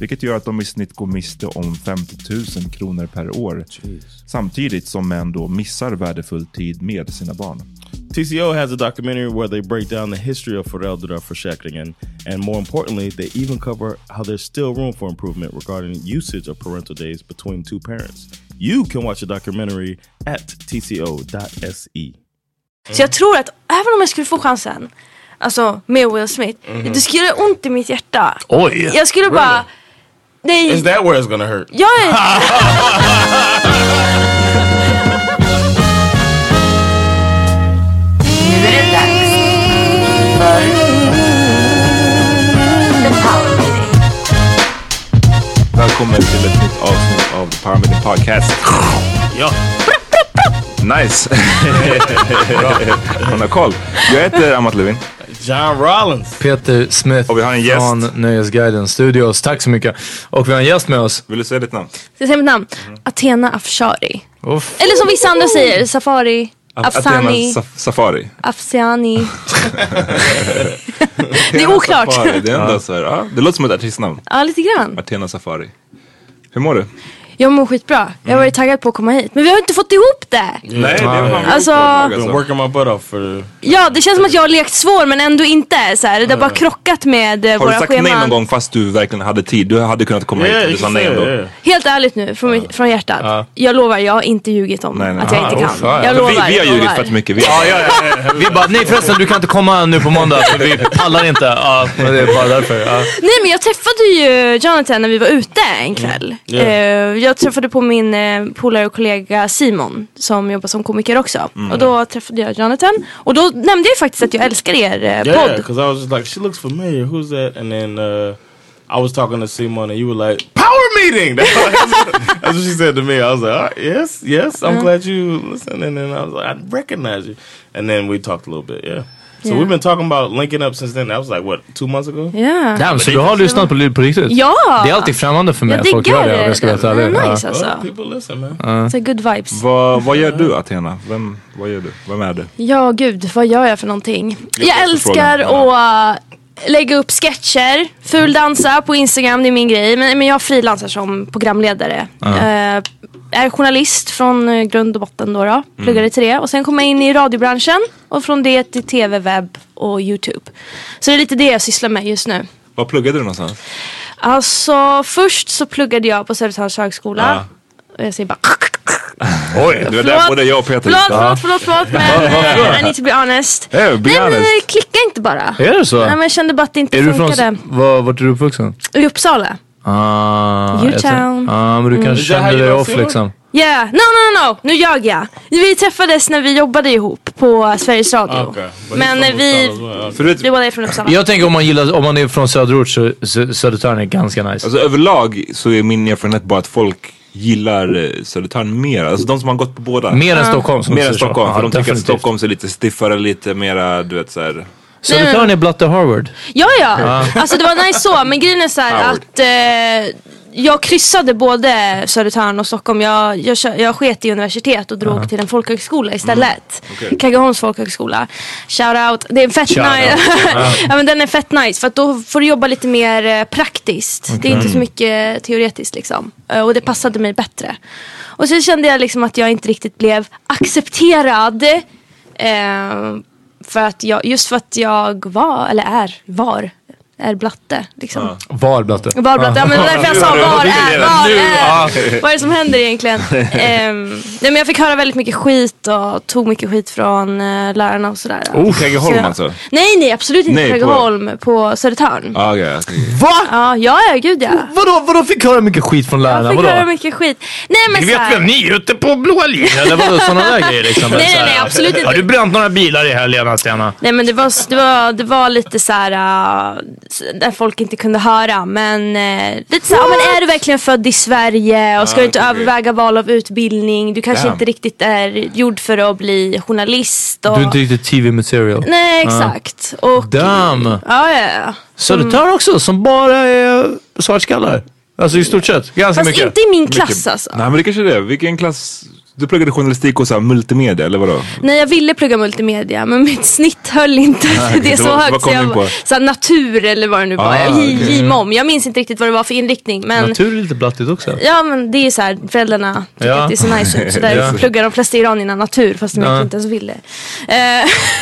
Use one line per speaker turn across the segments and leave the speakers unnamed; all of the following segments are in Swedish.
vilket gör att de i snitt går miste om 50 000 kronor per år. Samtidigt som män då missar värdefull tid med sina barn.
TCO has a documentary where they break down the history of föräldraförsäkringen and more importantly, they even cover how there's still room for improvement regarding usage of parental days between two parents. You can watch the documentary at tco.se.
Så jag tror att även om jag skulle få chansen, alltså med Will Smith, det skulle göra ont i mitt hjärta.
Oj!
Jag skulle bara, nej,
Is that where it's gonna hurt?
jag är...
Välkommen till ett nytt avsnitt av The Power Meeting Podcast.
Ja.
Nice! Hon har koll. Jag heter Amat Levin.
John Rollins.
Peter Smith
Och vi har en gäst.
från Nöjesguiden Studios. Tack så mycket. Och vi har en gäst med oss.
Vill du säga ditt namn?
Ska jag säga mitt namn? Athena Afshari.
Uff.
Eller som vissa andra säger, Safari, Afsani,
Athena Saf- Safari.
Afsiani. det är oklart.
Safari. Det, är ändå så här, ja, det låter som ett artistnamn.
Ja, lite grann.
Athena Safari. Hur mår du?
Jag mår skitbra. Jag har varit taggad på att komma hit. Men vi har inte fått ihop det.
Nej, det var fan
Alltså-
Been working my butt off for
Ja, det känns som att jag har lekt svår men ändå inte. Så här. Det har bara krockat med eh,
Har du
våra
sagt
scheman.
nej någon gång fast du verkligen hade tid? Du hade kunnat komma hit
Yeah,
men
you
du sa
can
nej
say it,
ändå.
yeah.
Helt ärligt nu, från, mitt- från hjärtat. Jag lovar, jag har inte ljugit om
Nej, nej.
att jag
Ah,
inte kan.
oh, fan.
jag
Vi-
lovar.
Vi, vi har
jag
ljugit
lovar.
fett mycket. Vi,
Vi bara, nej förresten du kan inte komma nu på måndag för vi pallar inte. Ja, men det är bara därför. Ja.
Nej men jag träffade ju Jonathan när vi var ute
Mm.
en kväll. Eh, jag träffade på min eh, polare och kollega Simon som jobbar som komiker också.
Mm.
Och då träffade jag Jonathan och då nämnde jag faktiskt att jag älskar er eh,
Yeah,
podd.
because I was just like, she looks familiar. Who's that? And then uh, I was talking to Simon, and you were like, "Power meeting." That's what, that's what she said to me. I was like, "All right, "Yes, yes, I'm glad you listened." And then I was like, "I recognize you." And then we talked a little bit. Yeah, So
Yeah.
we've been talking about linking up since then. That was like what two months ago.
Ja.
Damn, så du har lyssnat på Lyd på riktigt?
Ja!
Det är alltid främmande för mig
Jag
att folk gör
diggar
det om
det.
jag ska vara helt ärlig.
Det är
Ja.
nice
Well,
alltså.
people listen, man.
Så good vibes.
Vad, vad gör du Athena? Vem, vad gör du? Vem är du?
Ja, gud, vad gör jag för någonting?
det
Jag
är
älskar att äh, lägga upp sketcher, fuldansa på Instagram, det är min grej. Men, men jag frilansar som programledare. Eh, är journalist från eh, grund och botten då. då. Pluggade till det. Och sen kom jag in i radiobranschen och från det till tv, webb och YouTube. Så det är lite det jag sysslar med just nu.
Vad pluggade du någonstans?
Alltså först så pluggade jag på Södertörns högskola. Och jag säger bara
Oj, det var där
Förlåt.
både jag och Peter
förlåt,
Ja.
förlåt, förlåt, förlåt, men eh, I need to be honest.
Eh, be
Nej, men
honest.
det klickade inte bara.
Är det så?
Nej, men jag kände bara att det inte
Är du från...
funkade.
Var, vart är du uppvuxen?
I Uppsala.
Ah,
Newtown.
jag tror- ah, men du
Mm.
kanske
Is that how
kände
you
dig
don't
off
feel?
liksom.
Yeah, no, no, no, no, nu ljög jag. Vi träffades när vi jobbade ihop på Sveriges
Ah,
Radio.
Okay. But
Men
he's
eh,
from
vi,
Uppsala as well.
För du
vi
vet,
båda är från Uppsala.
Jag tänker om man gillar, om man är från söderort så så- Södertörn är ganska nice.
alltså, överlag så är min erfarenhet bara att folk gillar eh, Södertörn mer. Alltså de som har gått på båda.
Mer än Stockholm som
Mer
du
än
säger så.
Stockholm,
Ja,
för de tycker att
definitivt.
Stockholm är lite stiffare, lite mera du vet såhär.
Södertörn är blatte Harvard.
Ja, ja. Alltså det var nice så, men grejen är så här
Howard.
att eh, jag kryssade både Södertörn och Stockholm. Jag, jag, kö- jag sket i universitet och drog till en folkhögskola istället.
Okej.
Kaggeholms folkhögskola. Shout out. Det är en fett
Shout
nice. ja, men den är fett nice för att då får du jobba lite mer eh, praktiskt. Det är inte så mycket teoretiskt liksom. Eh, Och det passade mig bättre. Och sen kände jag liksom att jag inte riktigt blev accepterad. Eh, för att jag, just för att jag var, eller är, var, är blatte. Liksom.
Var blatte?
Var blatte, ja men det var därför jag sa var är, var är. Vad är det som händer egentligen? Ehm, nej men jag fick höra väldigt mycket skit och tog mycket skit från eh, lärarna och sådär.
Oh, Kaggeholm
Så jag-
alltså?
Nej nej absolut inte
Nej, på-
Kaggeholm, på... Södertörn.
Ah, okay, okay.
Va?
Ja, ja ja gud ja.
Vadå, vadå fick höra mycket skit från lärarna?
Jag fick
vadå?
höra mycket skit. Nej men såhär.
ni är ute på blåa linjen? Eller vadå, sådana där grejer liksom?
Nej,
Så här,
nej, nej, absolut inte.
Har du bränt några bilar i helgen Athena?
Nej men det var, det var, det var lite såhär, äh, där folk inte kunde höra. Men eh, lite såhär, ja, men är du verkligen född i Sverige och ska du inte överväga val av utbildning? Du kanske
Damn.
inte riktigt är gjord för att bli journalist. Och...
Du är inte riktigt TV material.
Nej exakt. Och, Mm.
Damn!
ja, ja, ja.
Södertörn också, som bara är svartskallar. Alltså i stort sett, ganska
Fast
mycket.
inte i min klass alltså.
Nej men det kanske är det. Vilken klass? Du pluggade journalistik och så här, multimedia eller vadå?
Nej jag ville plugga multimedia men mitt snitt höll inte till det
okej,
så
vad-
högt.
vad kom
så jag
du in på?
var- så här, natur eller vad det nu var.
Ah,
Ah,
okej.
J-mom. Jag minns inte riktigt vad det var för inriktning. Men
Natur är lite blattigt också.
Ja men det är så här, föräldrarna tycker
Ja.
att det ser nice ut. Så där
Ja.
pluggar de flesta iranierna natur fast de
Ja.
egentligen inte ens ville.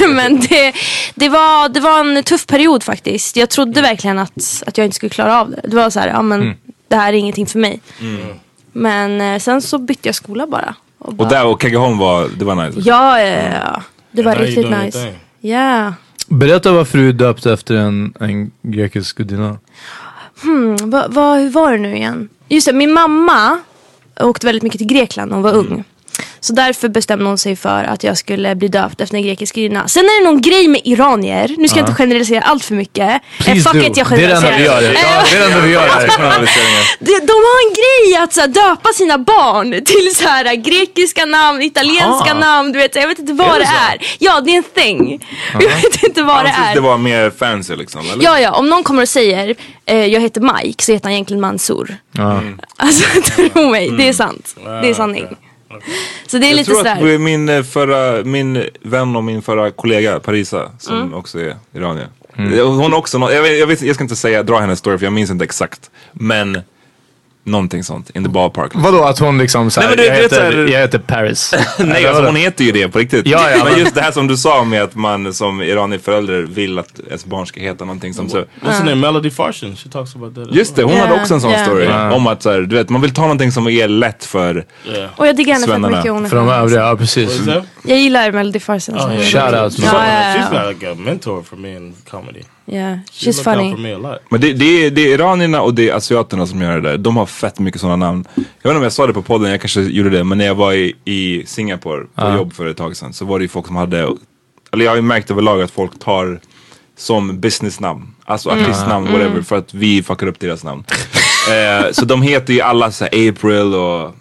Eh, men det, det, var, det var en tuff period faktiskt. Jag trodde verkligen att, att jag inte skulle klara av det. Det var så här, ja men
Mm.
det här är ingenting för mig. Men eh, sen så bytte jag skola bara. Och bara
Och där och Kaggeholm var, det var nice.
ja, eh, ja, det var
now you
riktigt
doing your
nice.
thing.
Ja. Yeah.
Berätta varför du är döpt efter en, en grekisk gudinna.
Mm, Va, va, hur var det nu igen? Just det, min mamma åkte väldigt mycket till Grekland när hon var ung. Så därför bestämde hon sig för att jag skulle bli döpt efter en grekisk gudinna. Sen är det någon grej med iranier. Nu ska jag inte generalisera allt för mycket. Eh,
Please
fuck
do.
it, jag
det är det enda
generaliserar.
vi gör. Ja, det är det enda vi gör här.
De, de har en grej att så här, döpa sina barn till så här, eh, grekiska namn, italienska
Ah.
namn. Du vet, så jag vet inte vad det, är. Ja, det är en thing. Jag vet inte vad det
Jag tyckte
är.
det var mer fancy liksom. Eller?
Ja, ja, om någon kommer och säger eh, jag heter Mike så heter han egentligen Mansour. Alltså tro mig, det
Mm.
är sant. Det är sanning. Så det är
Ah, Jag
lite
tror att
sådär.
det är min eh, förra, min vän och min förra kollega Parisa som
Mm.
också är iranier. Eh, Hon har också, nå- jag, vet, jag, vet, jag ska inte säga, dra hennes story för jag minns inte exakt. Men någonting sånt, in the ballpark.
Vadå att hon liksom såhär,
Nej, men du
jag,
vet
heter,
såhär-
jag heter Paris.
Nej,
Eller
alltså,
vadå?
hon heter ju det på riktigt.
Ja, ja,
men
men-
just det här som du sa med att man som iranierförälder vill att ens barn ska heta någonting som så.
What's her name? Melody Farshin. She talks about that. as
Just det,
well.
hon
Ja,
hade också en sån
ja.
story. Om att så här, du vet, man vill ta någonting som är lätt för...
Yeah.
Och jag diggar henne fett
Svennarna.
mycket. Hon är
För de
skön.
övriga, ja precis.
What is that?
Jag gillar Melody Farsens.
Oh, yeah.
Shout out.
Ja, ja,
She's
ja.
not like a mentor for me in comedy.
Yeah.
She
She's
looked out
funny.
for me a lot.
Men det, det, är, det är iranierna och det är asiaterna som gör det där. De har fett mycket sådana namn. Jag vet inte om jag sa det på podden, jag kanske gjorde det. Men när jag var i, i Singapore på jobb för ett tag sedan så var det ju folk som hade... Eller jag har ju märkt överlag att folk tar som businessnamn. Alltså artistnamn, whatever. För att vi fuckar upp deras namn. eh, så de heter ju alla så här April och...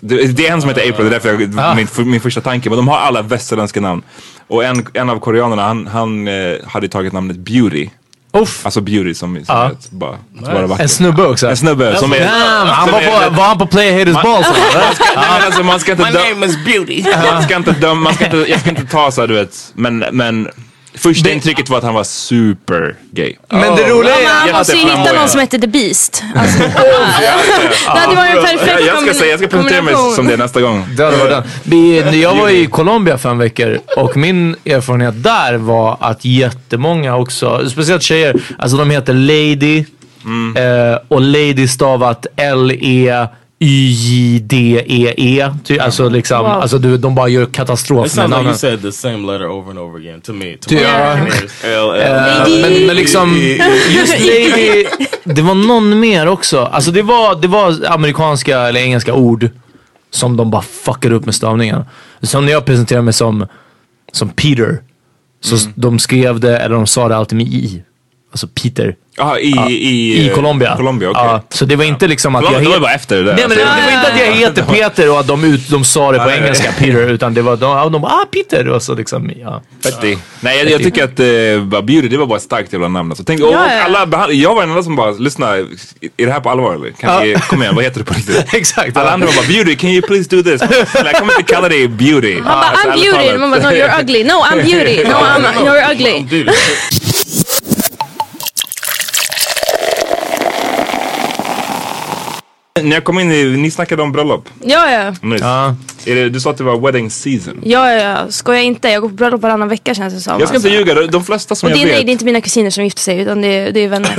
Det, det är en som heter April, det är därför jag, min, min första tanke. Men de har alla västerländska namn. Och en, en av koreanerna, han, han eh, hade tagit namnet Beauty.
Uff.
Alltså beauty som, som
Ja.
är ett- bara, som bara vacker.
En snubbe också.
En snubbe som är...
Damn, han var, på, var han på Play Haters Balls?
Nej, men alltså, man ska inte
My
dö-
name is Beauty.
man ska inte döma, man ska inte, jag ska inte ta så här, du vet. Men, men första
Det-
intrycket var att han var super gay.
Men det roliga
Men
är...
han måste ju hitta Alltså, någon som heter The Beast. Alltså, det hade varit en perfekt
Jag, jag ska
kombina-
säga, jag ska presentera mig
kombination.
som det nästa gång.
Det hade varit den. Vi, när jag var i Colombia fem veckor och min erfarenhet där var att jättemånga också, speciellt tjejer, alltså de heter Lady
Mm.
eh, och Lady stavat E L-E Y-J-D-E-E. Ty, alltså liksom,
Wow.
alltså du, de bara gör katastrof
It
med
sounds like you
namnen.
said the same letter over and over again to me. To
Ty,
my
ja.
ears.
Eh, men, men liksom, just Lady, det var någon mer också. Alltså det var, det var amerikanska eller engelska ord som de bara fuckade upp med stavningen. Som när jag presenterade mig som, som Peter, så s- de skrev det, eller de sa det alltid med i. Alltså Peter.
Jaha, i, i,
I Colombia.
Colombia, okej.
ja, så det var inte liksom att
Colombia, det
jag
var
het-
bara efter det där.
Nej men det, det var inte att jag heter Peter och att de, ut, de sa det på
Nej, nej.
engelska, Peter. Utan det var de, de bara, ah Peter. Och så liksom, ja.
Fetti. Nej jag, jag tycker att eh, bara Beauty det var bara ett starkt jävla namn alltså. Tänk, och, och
Ja, ja.
alla, behand- jag var den enda som bara, lyssna, är det här på allvar eller? Kan
Ja.
vi, kom igen, vad heter det på riktigt?
Exakt.
Alla andra var bara beauty, can you please do this? Jag kommer inte kalla dig beauty.
Han bara, I'm beauty. Man bara, no you're ugly. No, I'm beauty. No, I'm, you're ugly.
Dude,
När jag kom in, i- ni snackade om bröllop
Ja, ja.
nyss.
Ja.
Är det, du sa att det var wedding season.
Ja, ja, ja. Skojar inte. Jag går på bröllop varannan vecka känns det som.
Jag ska inte
Alltså.
ljuga, de- de flesta som
Och
jag
det är, nej,
vet,
det är inte mina kusiner som gifter sig utan det är, det är vänner.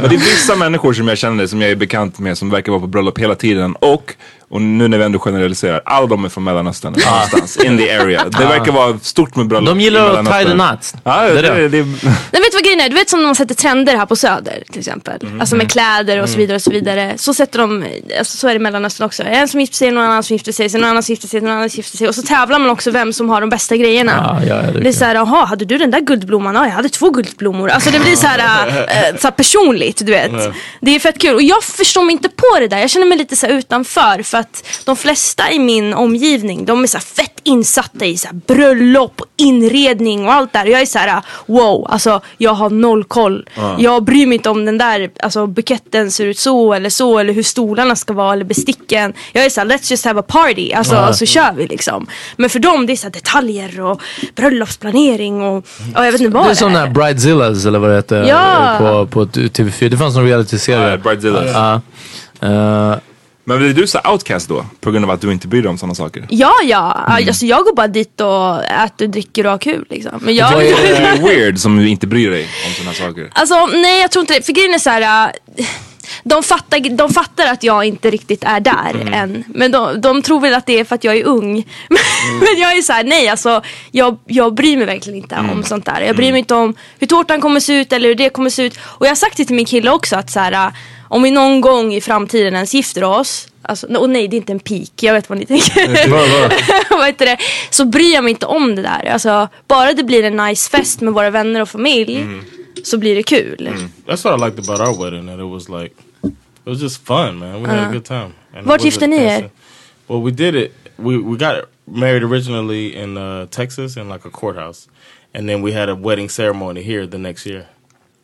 men det är vissa människor som jag känner, som jag är bekant med, som verkar vara på bröllop hela tiden. Och, och nu när vi ändå generaliserar, alla de är från Mellanöstern eller någonstans, in the area. Det verkar vara stort med bröllop
De
i
gillar att
Mellanöstern.
tie the knots.
Ja,
Det
det,
är det.
det, det,
Nej, vet du vad grejen är? Du vet som när man sätter trender här på söder till exempel.
Mhm.
Alltså
Mm.
med kläder och så vidare och så vidare. Så sätter de, alltså, så är det i Mellanöstern också. En som gifter sig, någon annan som gifter sig, sen någon annan som gifter sig, någon annan som gifter sig. Och så tävlar man också vem som har de bästa grejerna.
Ja, ja, det är
det är såhär, jaha, hade du den där guldblomman? Ja, jag hade två guldblommor. Alltså det blir såhär, äh, såhär personligt, du vet.
Mm.
Det är fett kul. Och jag förstår mig inte på det där. Jag känner mig lite såhär utanför. För att de flesta i min omgivning, de är såhär fett insatta i såhär bröllop och inredning och allt där. Och jag är såhär, wow, alltså jag har noll koll. Jag bryr mig inte om den där, alltså buketten ser ut så eller så. Eller hur stolarna ska vara eller besticken. Jag är såhär, let's just have a party. Alltså,
Ja.
så kör vi liksom. Men för dem, det är såhär detaljer och bröllopsplanering och, och jag vet inte vad
Det är sådana här Bridezillas eller vad det heter
Ja.
på, på TV4. Det fanns någon
Ja,
realityserie.
Bridezillas.
Ja. Eh,
men blir du så outcast då? På grund av att du inte bryr dig om sådana saker?
Ja, ja. Alltså, jag går bara dit och äter, dricker och har kul. Liksom. Men jag,
Vad är-
Är du weird som inte bryr dig om sådana saker?
Alltså, nej, jag tror inte det. För grejen är så här... äh, De fattar, de fattar att jag inte riktigt är där än. Men de, de tror väl att det är för att jag är ung. Men jag är så här, nej alltså. Jag, jag bryr mig verkligen inte om sånt där. Jag bryr mig inte om hur tårtan kommer se ut eller hur det kommer se ut. Och jag har sagt det till min kille också att så här, äh, om vi någon gång i framtiden ens gifter oss. Alltså, och nej det är inte en pik, jag vet vad ni tänker. vad heter det, så bryr jag mig inte om det där. Alltså, bara det blir en nice fest med våra vänner och familj så blir det kul.
That's what I liked about our wedding. That it was like, it was just fun, man. We had
Uh-huh.
a good time. And it
Vart
wasn't
gifte ni er?
fancy. Well, we did it. We we got married originally in uh, Texas in like a courthouse, and then we had a wedding ceremony here the next year,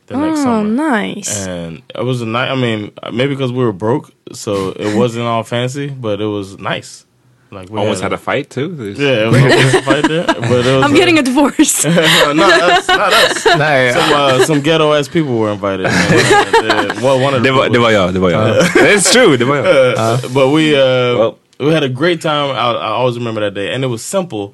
the next
Oh,
summer.
nice.
And it was a night. I mean, maybe because we were broke, so it wasn't all fancy, but it was nice. Like we
Almost had a fight too?
yeah, it was almost a fight there, but it was
I'm
uh,
getting a divorce.
not us, not us.
nej,
Some, uh, some ghetto ass people were invited. And, uh, well, one of
Det
the
var, det var jag, det var jag. It's true, det var jag.
but we uh,
Well-
we had a great time. I, I always remember that day, and it was simple,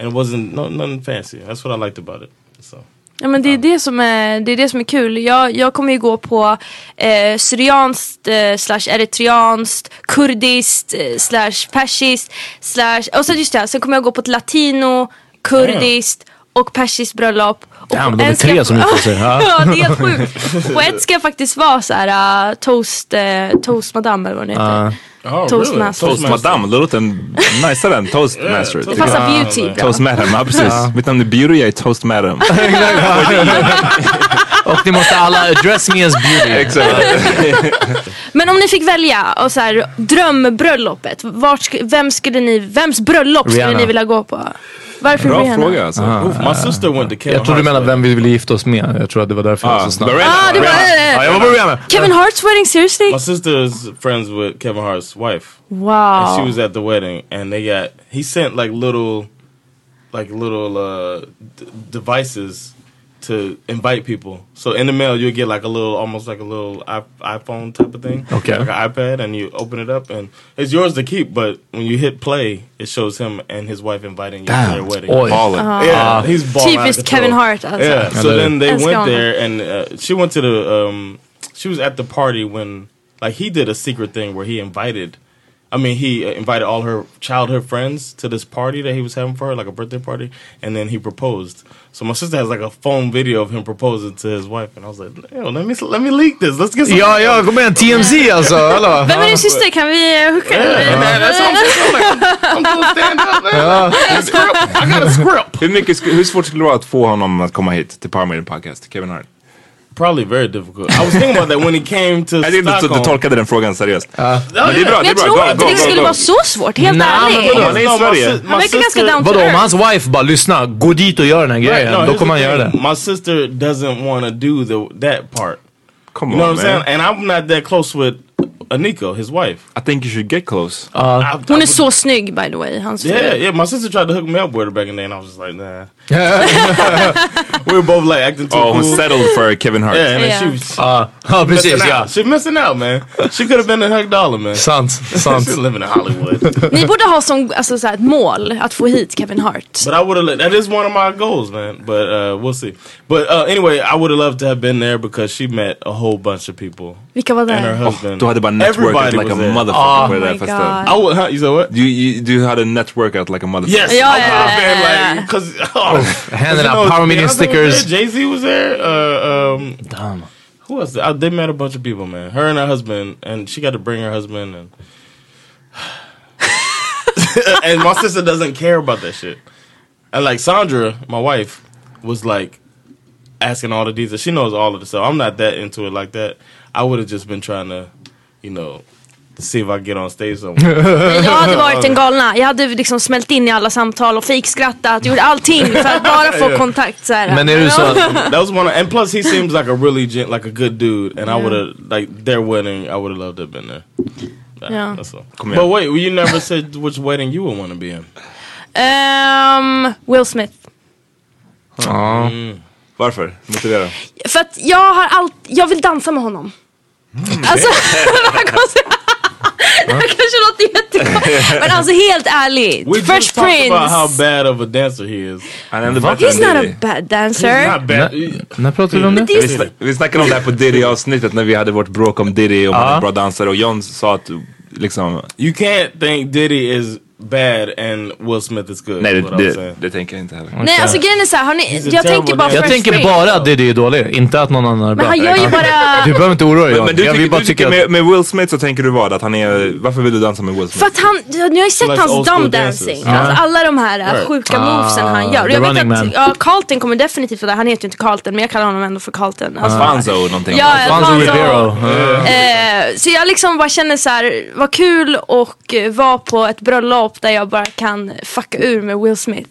and it wasn't no, nothing fancy. That's what I liked about it. So
Ja, men det, är det, som är, det är det som är kul. Jag, jag kommer ju gå på eh, syrianskt eh, slash eritreanskt, kurdiskt eh, slash persiskt slash, och sen just det, här, sen kommer jag gå på ett latino, kurdiskt och persiskt bröllop. Och
Damn,
på
de är
en ska-
tre som gifter sig. Ja.
ja, det är helt sjukt. På ett ska jag faktiskt vara så här, eh, toast, uh, toast madame eller vad det heter.
Ja.
oh,
Toastmaster.
Toast madame, det låter en- najsare än toastmaster.
Yeah,
Det passar
Ja,
beauty bra.
Toast madam, ja precis. Mitt namn är Beauty, jag är toast madam.
Och ni måste alla address me as beauty.
Exakt.
Men om ni fick välja, och så här, drömbröllopet, vart, sk- vem skulle ni, vems bröllop skulle
Rihanna.
ni vilja gå på? Varför
Bra
Rihanna?
fråga alltså.
Aha.
My sister went to Kevin
Jag tror du
Hart's
menar
wedding.
vem vi vill gifta oss med. Jag tror att det var därför jag var
Ah,
så snabb.
Lorena.
Ah, det var
Lorena.
Ja,
det!
jag var på Rihanna.
Kevin Harts wedding, seriously?
My sister is friends with Kevin Hart's wife. And she
Wow.
was at the wedding, and they got he sent like little, like little uh, d- devices to invite people. So in the mail, you'll get like a little, almost like a little I- iPhone type of thing,
Okay.
like an iPad, and you open it up, and it's yours to keep. But when you hit play, it shows him and his wife inviting you to their
Damn.
wedding.
Oj.
Ballen.
Yeah, Ah, he's balling out of
Typiskt
control.
Kevin Hart alltså.
Yeah.
that
So then they
That's
went
gone.
there, and uh, she went to the. Um, she was at the party when, like, he did a secret thing where he invited. I mean, he uh, invited all her childhood friends to this party that he was having for her, like a birthday party, and then he proposed. So my sister has like a phone video of him proposing to his wife, and I was like, "Yo, let me let me leak this. Let's get some."
Ja, ja, kom igen. TMZ alltså. Hallå.
Vem är din syster? Kan vi eh, hooka?
Man, that's what I'm saying. I'm like, I'm gonna stand up. Man. I got a script. I got a script.
Hur, mycket, sk- hur svårt skulle det vara att få honom att komma hit till Parmidden Podcast, Kevin Hart?
Probably very difficult. I was thinking about that when he came to
Jag tänkte att du
Stockholm.
tolkade den frågan seriöst.
Oh,
Men det är
yeah.
bra,
Men
det är
jag
bra.
tror
Go,
inte
go,
det
go,
skulle
go.
vara så svårt, helt
Nej, men vadå?
ärligt.
Han är i
No, my
Sverige.
si- my
Han verkar ganska
sister-
down to
Vadå, om
earth.
hans wife bara lyssna, gå dit och gör den här
Right,
grejen.
no,
Då
here's
kommer han
the
göra det.
thing. My sister doesn't want to do the that part.
Come
You
on
know what I'm saying?
man.
And I'm not that close with Aniko, his wife.
I think you should get close.
I- I
Hon är
would-
så snygg by the way. Hans
Yeah,
fru.
yeah. My sister tried to hook me up with her back in the day, and I was just like, nah. We were both like acting too
Oh, hon
cool.
settled Uh, for Kevin Hart.
yeah, and then
Yeah.
she was
Ja, ja, precis.
missing
Ja.
out. She missing out, man. She could have been a Huck Dollar, man.
Sant, sant.
She's living in Hollywood.
Ni borde ha som alltså, så här, ett mål att få hit Kevin Hart.
but I would have. That is one of my goals, man. But uh, we'll see. But uh, anyway, I would have loved to have been there because she met a whole bunch of people.
Vilka var
and her
där?
husband.
Du hade bara networkat
Everybody
like a
was there.
motherfucker på
Oh
det där
my
festen.
God.
I would, huh? You said what?
Du- you- Du hade networkat like a motherfucker.
Yes,
Yeah,
I would
yeah,
have been
yeah,
like, cause oh,
Handing out power meeting
Alltså,
stickers.
Jay Z was there. Uh, um, Who else? Uh, they met a bunch of people, man. Her and her husband, and she got to bring her husband, and and my sister doesn't care about that shit. And like Sandra, my wife, was like asking all the details. She knows all of this, so I'm not that into it like that. I would have just been trying to, you know, see if I get on stage somewhere.
Jag hade varit den galna. Jag hade liksom smält in i alla samtal och fejkskrattat. Gjort allting för att bara få kontakt. Så här.
Men är du så att,
That was one of, and plus he seems like a really gen, like a good dude, and I would have like their wedding. I would have loved to have been there. Nah,
Yeah.
That's all.
Come
But
here.
wait, you never said which wedding you would want to be in.
Ehm, Will Smith.
Varför? Motivera.
För att jag har allt, jag vill dansa med honom. Alltså, det här konstigt. Det här kanske låter jättekonstigt. Men alltså helt ärligt.
We
Fresh
just talked
Prince.
about how bad of a dancer he is.
Han är ändå
Va?
bättre än
He's not
Diddy.
a bad dancer.
Not bad.
när pratade vi om det?
Det är
Vi, sna- vi snackade om det här på Diddy-avsnittet när vi hade vårt bråk om Diddy och han är bra dansare och John sa att liksom,
You can't think Diddy is bad and Will Smith is good.
nej
is
det,
what I'm
det,
saying.
det tänker jag inte heller.
Nej alltså grejen är såhär, har ni,
a
jag tänker
terrible
bara
dancer.
Fresh
Jag tänker
Prince.
bara att Diddy är dålig, inte att någon annan är
Men
bra.
han gör ju bara...
Du behöver inte oroa dig
Men,
John.
du
Jag
tycker,
vill bara
du tycker
tycka att...
med, med Will Smith så tänker du vad? Att han är, varför vill du dansa med Will Smith?
För att han, jag- ni har ju sett
Like old
hans
school
dumb
dancers.
dancing. Alltså alla de här äh,
Right. Ah,
sjuka movesen han gör. Och
the
Jag
running
vet
man.
att, ja Carlton kommer definitivt vara där. Han heter ju inte Carlton men jag kallar honom ändå för Carlton. Alltså,
Fanzo någonting.
Ja,
Fanzo
Fanzo.
Ribeiro.
Eh, så jag liksom bara känner så här, vad kul och eh, vara på ett bröllop där jag bara kan fucka ur med Will Smith.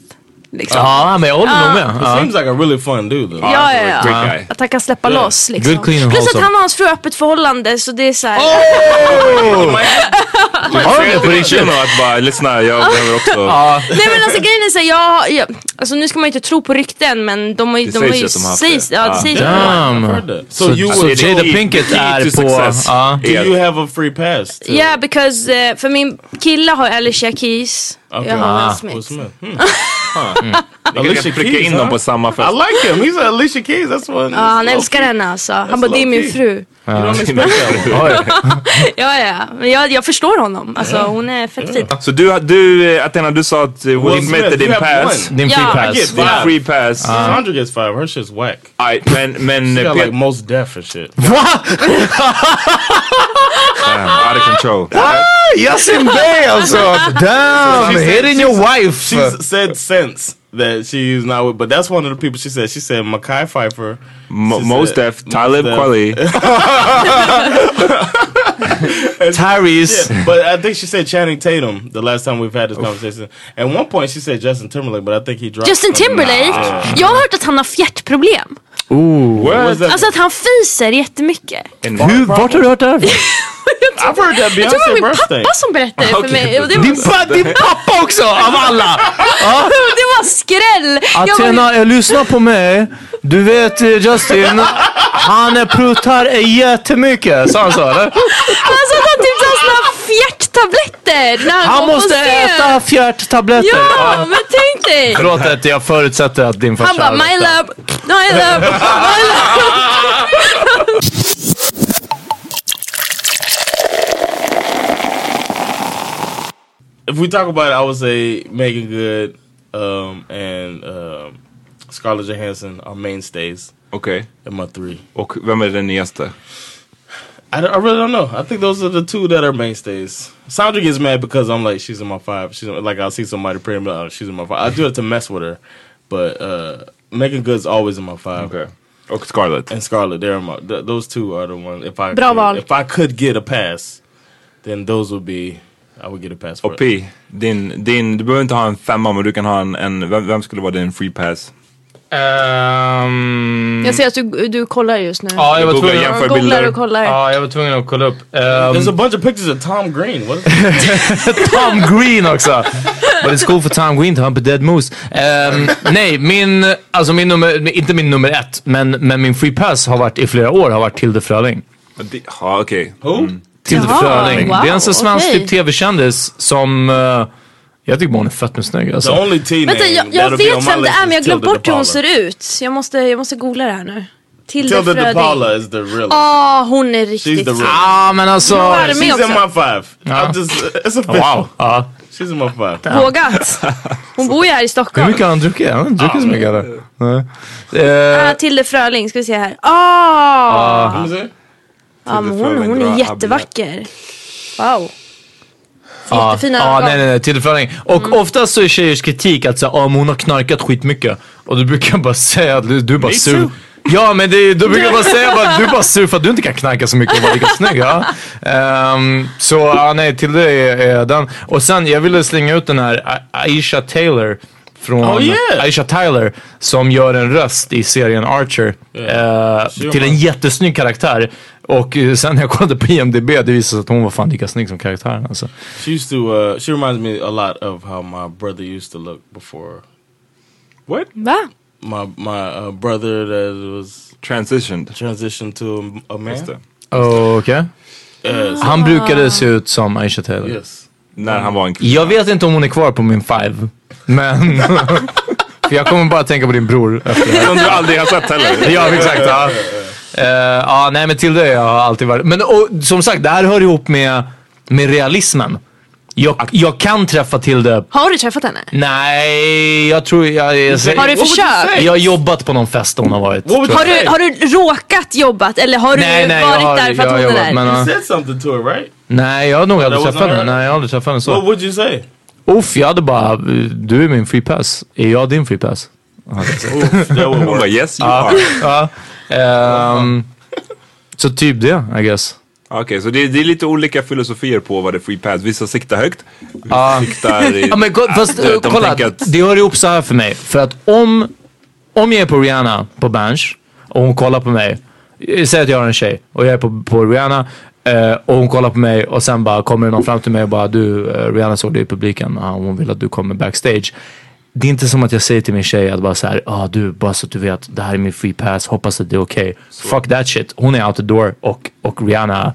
Liksom.
Ja, men jag håller nog med.
He
Uh-huh.
Ja.
seems like a really fun dude though.
Ja, ja, ja.
Great guy.
Att han kan släppa loss liksom.
Good, clean and
Plus att
wholesome.
han och hans fru har öppet förhållande så det är så här.
Oh! Har du det på
Riktigt.
riktigt?
Att bara, lyssna jag behöver också.
Nej men alltså grejen är så här, jag, jag, alltså nu ska man ju inte tro på rykten men de har ju,
Det
de har
sägs att
ju,
de har haft
sägs,
det.
ja
Ah.
det sägs att de har.
Damn.
I've heard that. So,
Så
you
så
would
Jada
key-
Pinkett
key
är
to
på...
success.
ja.
do you have a free pass? To
Yeah because, eh, för min kille har Alicia Keys,
Okay.
jag har
Ah.
Will Smith.
Will Smith? Hmm.
Jag kan pricka in dem
huh?
på samma fest.
I like him. He's Alicia Keys. That's one.
Ja han älskar henne alltså. Han bara det är min
low-key.
fru. Ja ja, men jag, jag förstår honom. Alltså hon är fett fin.
Så du, du eh, Athena du sa att eh, Will
Will
Smith är
Smith,
din
you have
pass.
one.
Din free
Ja.
pass.
Din
Five.
free pass.
Sandra gets five. Her shit's whack.
Aj, Men, men
She got
Pet-
like most deaf and shit.
Va?
out of control.
Yasin Bey alltså! Damn!
She's-
Hitting your wife!
She said since that she's not with, but that's one of the people she said. She said Makai Pfeiffer.
Mo-
She
Most
said-
Def, Talib
Mos Def.
Kweli.
Terry's.
Yeah, but I think she said Channing Tatum the last time we've had this conversation. At one point she said Justin Timberlake, but I think he dropped.
Justin Timberlake, jag har hört att han har fjärtproblem.
What? That?
Alltså att han fiser jättemycket.
Hur, vart har du hört det här?
I've heard that
Jag tror det var
Beyonce
min
birthday.
pappa som berättade det för mig. Och det, var,
Din, pa- din pappa också, av alla!
det var skräll! Jag var,
Athena, jag lyssnar på mig. Du vet eh, Justin, han eh, pruttar jättemycket. Sa han så eller?
han sa att han typ sa såna här fjärttabletter när han,
Han
kom på
måste
scen.
äta fjärttabletter.
Ja, men tänk dig!
Förlåt att jag förutsätter att din farsa
Han bara
har
my
rätt där.
love, my love, my love.
If we talk about it, I would say Megan Good um, and um, Scarlett Johansson are mainstays
Okej.
in my three.
Och vem är den nyaste?
I, don't- I really don't know. I think those are the two that are mainstays. Sandra gets mad because I'm like, she's in my five. She's in- like, I'll see somebody pretty much, oh, she's in my five. I do it to mess with her, but uh, Megan Good's always in my five.
Okej. Och Scarlett.
And Scarlett, they're in my. Th those two are the ones. If I
Bra val.
could, if I could get a pass, then those would be. I would get a pass for
Och
it.
Oh, P, din, din, du behöver inte ha en femma men du kan ha en, en vem, vem skulle vara din free pass?
Ehm,
Jag ser att du, du kollar just nu.
ja, jag var
Googla
tvungen
jämför
att...
Googlar
bilder.
och kollar.
Ja, jag var tvungen att kolla upp.
There's
Ehm,
a bunch of pictures of Tom Green. What? Is
Tom Green också. But it's cool for Tom Green to hump a dead moose. Ehm, nej, min, alltså min nummer, inte min nummer ett, men, men min free pass har varit i flera år har varit Tilde Fröling.
Det- Ja okej.
who?
Tilde
Jaha,
Fröling.
wow,
det är en sån svensk
okej.
typ tv-kändis som eh, jag tycker bara hon är fett med snygg
The
alltså.
only T name.
Vänta, jag, jag
that'll be on
vet
my
vem det
list
är men
is
jag glömde
Tilda
bort hur
DePaula.
hon ser ut. Jag måste, jag måste googla det här nu. Tilde
Tilda DePaula
Fröding.
is the real.
Ja, hon är
she's
riktigt
the real.
Ah men alltså.
Hon var med
She's in
också.
my five.
Yeah.
I'm just. uh, It's a
Wow. Ja.
She's in my five.
Uh-huh. Vågat. Hon bor ju här i
Hur
Stockholm.
mycket har han druckit? Han har inte druckit så mycket eller? Nej.
Ah,
Eh,
Tilde Fröling, ska vi se här. Ah!
Who is it?
Ja, men hon,
Fröling
hon
drar
är
abborre.
jättevacker. Wow. Jättefina
Ja,
ögon.
nej, nej, nej. Tillförning. Och oftast så är tjejers kritik att säga, om hon har knarkat skitmycket. Och du brukar bara säga att du, du är bara sur. Ja men det, du brukar bara säga att du är bara sur för att du inte kan knarka så mycket och vara lika snygg. Ja. Ehm, så ja, nej, till det är, är den. Och sen jag ville slänga ut den här A- Aisha Taylor. Från
Oh, yeah.
Aisha Tyler som gör en röst i serien Archer.
Yeah.
eh,
Sure.
till en jättesnygg karaktär. Och eh, sen när jag kollade på IMDB det visade sig att hon var fan lika snygg som karaktären alltså.
She used to. Uh, she reminds me a lot of how my brother used to look before.
Va?
My my uh, brother that was
Transitioned.
transitioned to a, a man.
Just det.
Okej.
Yes.
Han brukade se ut som Aisha Taylor.
Yes.
När han var en kvinna.
Jag vet inte om hon är kvar på min five. Men... för jag kommer bara tänka på din bror. efter.
Som du aldrig har sett heller.
ja, exakt. Ja. Eh, ja, nej men till det har jag alltid varit. Men och, som sagt, det här hör ihop med, med realismen. Jag, jag kan träffa till det.
Har du träffat henne?
Nej, jag tror jag... Jag,
Har du
jag,
försökt?
jag har jobbat på någon fest hon har varit. tror jag.
Har du, har du råkat jobbat eller har
Nej,
du
nej, jag
varit
har,
där
jag
för att
har
hon är
jobbat,
där?
men, ja.
Said something to her, right?
nej, jag har nog aldrig
That was
träffat henne.
alright.
Nej, jag har aldrig träffat henne så.
What would you say?
Uff, jag hade bara, du är min free pass. Är jag din free pass?
Oof, that would
Hon
work.
bara yes you are.
Ehm, så typ det, I guess.
Okej, så det, det är lite olika filosofier på vad det är free pass. Vissa siktar högt, vissa siktar... I,
Ja, men ko- fast,
att,
eh,
eh, de
kolla,
tänker att-
det hör ihop så här för mig. För att om, om jag är på Rihanna på Bench och hon kollar på mig. eh, Säg att jag har en tjej och jag är på, på Rihanna eh, och hon kollar på mig och sen bara kommer det någon fram till mig och bara du, eh, Rihanna såg dig i publiken och hon vill att du kommer backstage. Det är inte som att jag säger till min tjej att bara så här, ah, du, bara så att du vet, det här är min free pass, hoppas att det är okej. Fuck that shit. Hon är out the door och, och Rihanna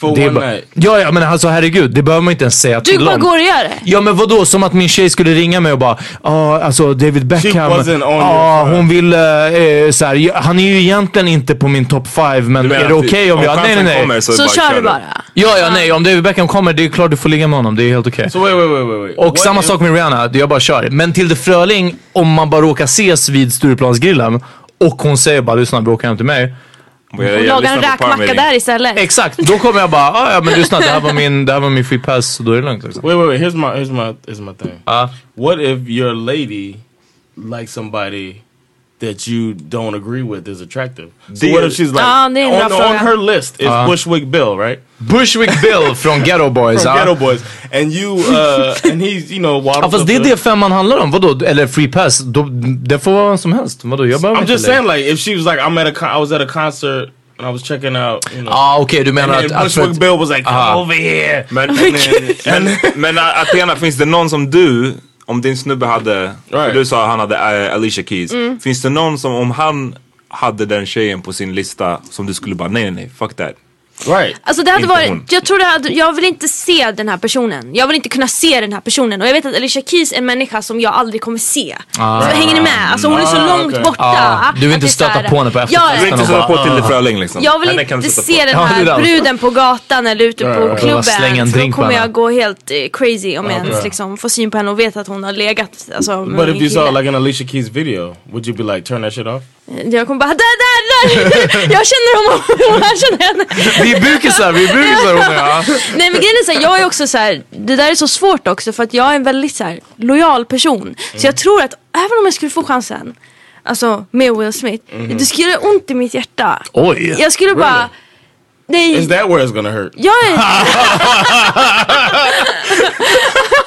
For
det är
one
bara-
night.
Ja, ja, men alltså herregud, det behöver man inte ens säga
Du
till
bara
om.
går och gör det?
Ja men vadå, som att min tjej skulle ringa mig och bara ah, alltså David Beckham,
wasn't on your
ah,
side."
hon vill, eh, eh, så här, "Ja, han är ju egentligen inte på min top five men
Du menar
är det
att
okej om jag, nej
chansen
nej nej.
kommer
Så kör du
du.
bara.
Ja ja nej, om David Beckham kommer det är klart du får ligga med honom, det är helt okej.
So wait, wait, wait, wait, wait.
Och
What
samma
if-
sak med Rihanna, jag bara kör. Men Tilde Fröling, om man bara råkar ses vid Stureplansgrillen och hon säger bara lyssna bråka hem till mig.
Jag, jag
Laga en
lyssnar på Power
räkmacka
Meeting.
där istället.
Exakt, då kommer jag bara ah, ja men lyssna det här var min, det här var min free pass så då är det lugnt. Liksom.
Wait, wait, wait. Here's my, here's my, here's my thing.
Ah.
What if your lady likes somebody that you don't agree with is attractive. So
Did-
what if she's like
Ah,
on,
det är en bra
on,
fråga.
her list is
Ah.
Bushwick Bill, right?
Bushwick Bill från Ghetto Boys.
From
ja.
Ghetto Boys, and you uh, and he's you know
Ja
waddles
fast
up
det är
to-
det femman handlar om, vadå? Eller free pass, då, det får vara vem som helst. Vadå? Jag behöver
I'm
inte
just
lägga-
saying, like, if she was like, I'm at a, con- I was at a concert and I was checking out, you know,
Ja ah, okej, du menar
and
att...
then
att för att
Bushwick Bill was like,
Aha.
come over here.
Men,
And
men, men A- Athena, finns det någon som du, om din snubbe hade,
Right.
du sa han hade eh, Alicia Keys.
Mm.
Finns det någon som, om han hade den tjejen på sin lista som du skulle bara nej nej nej, fuck that.
right.
Alltså det hade
Inte
varit,
hon.
jag tror det hade, jag vill inte se den här personen. Jag vill inte kunna se den här personen. Och jag vet att Alicia Keys är en människa som jag aldrig kommer se. Så hänger ni med? Alltså hon är så
Ah,
långt
okej.
borta.
Ah, du vill
att
inte
det är så här-
stöta på henne på
Ja,
Du vill inte
Och
sätta
bara, "Ah."
på till det Fröling liksom.
Jag vill
Henne kan du
inte
sätta
se den
Ja,
här
det är det.
bruden på gatan eller ute på
right, right.
klubben.
Slänga en
för då
drink på
kommer
henne.
jag gå helt eh, crazy om jag ens
Okay.
liksom, får syn på henne och vet att hon har legat alltså, med
But if
min
you saw
kille.
like an Alicia Keys video, would you be like, turn that shit off?
Jag kommer bara där, där, där! jag känner honom, jag känner henne.
Vi är bukisar, vi är bukisar hon och jag.
Nej men grejen är så här, jag är också så här, det där är så svårt också för att jag är en väldigt så här, lojal person. Så jag tror att även om jag skulle få chansen, alltså med Will Smith,
Mhm.
det skulle göra ont i mitt hjärta.
Oj!
Jag skulle bara, nej.
Is that where it's gonna hurt?
Jag är...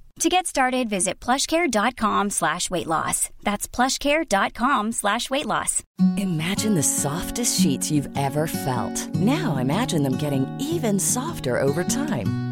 To get started, visit plushcare.com slash weight loss. That's plushcare.com slash weight loss.
Imagine the softest sheets you've ever felt. Now imagine them getting even softer over time.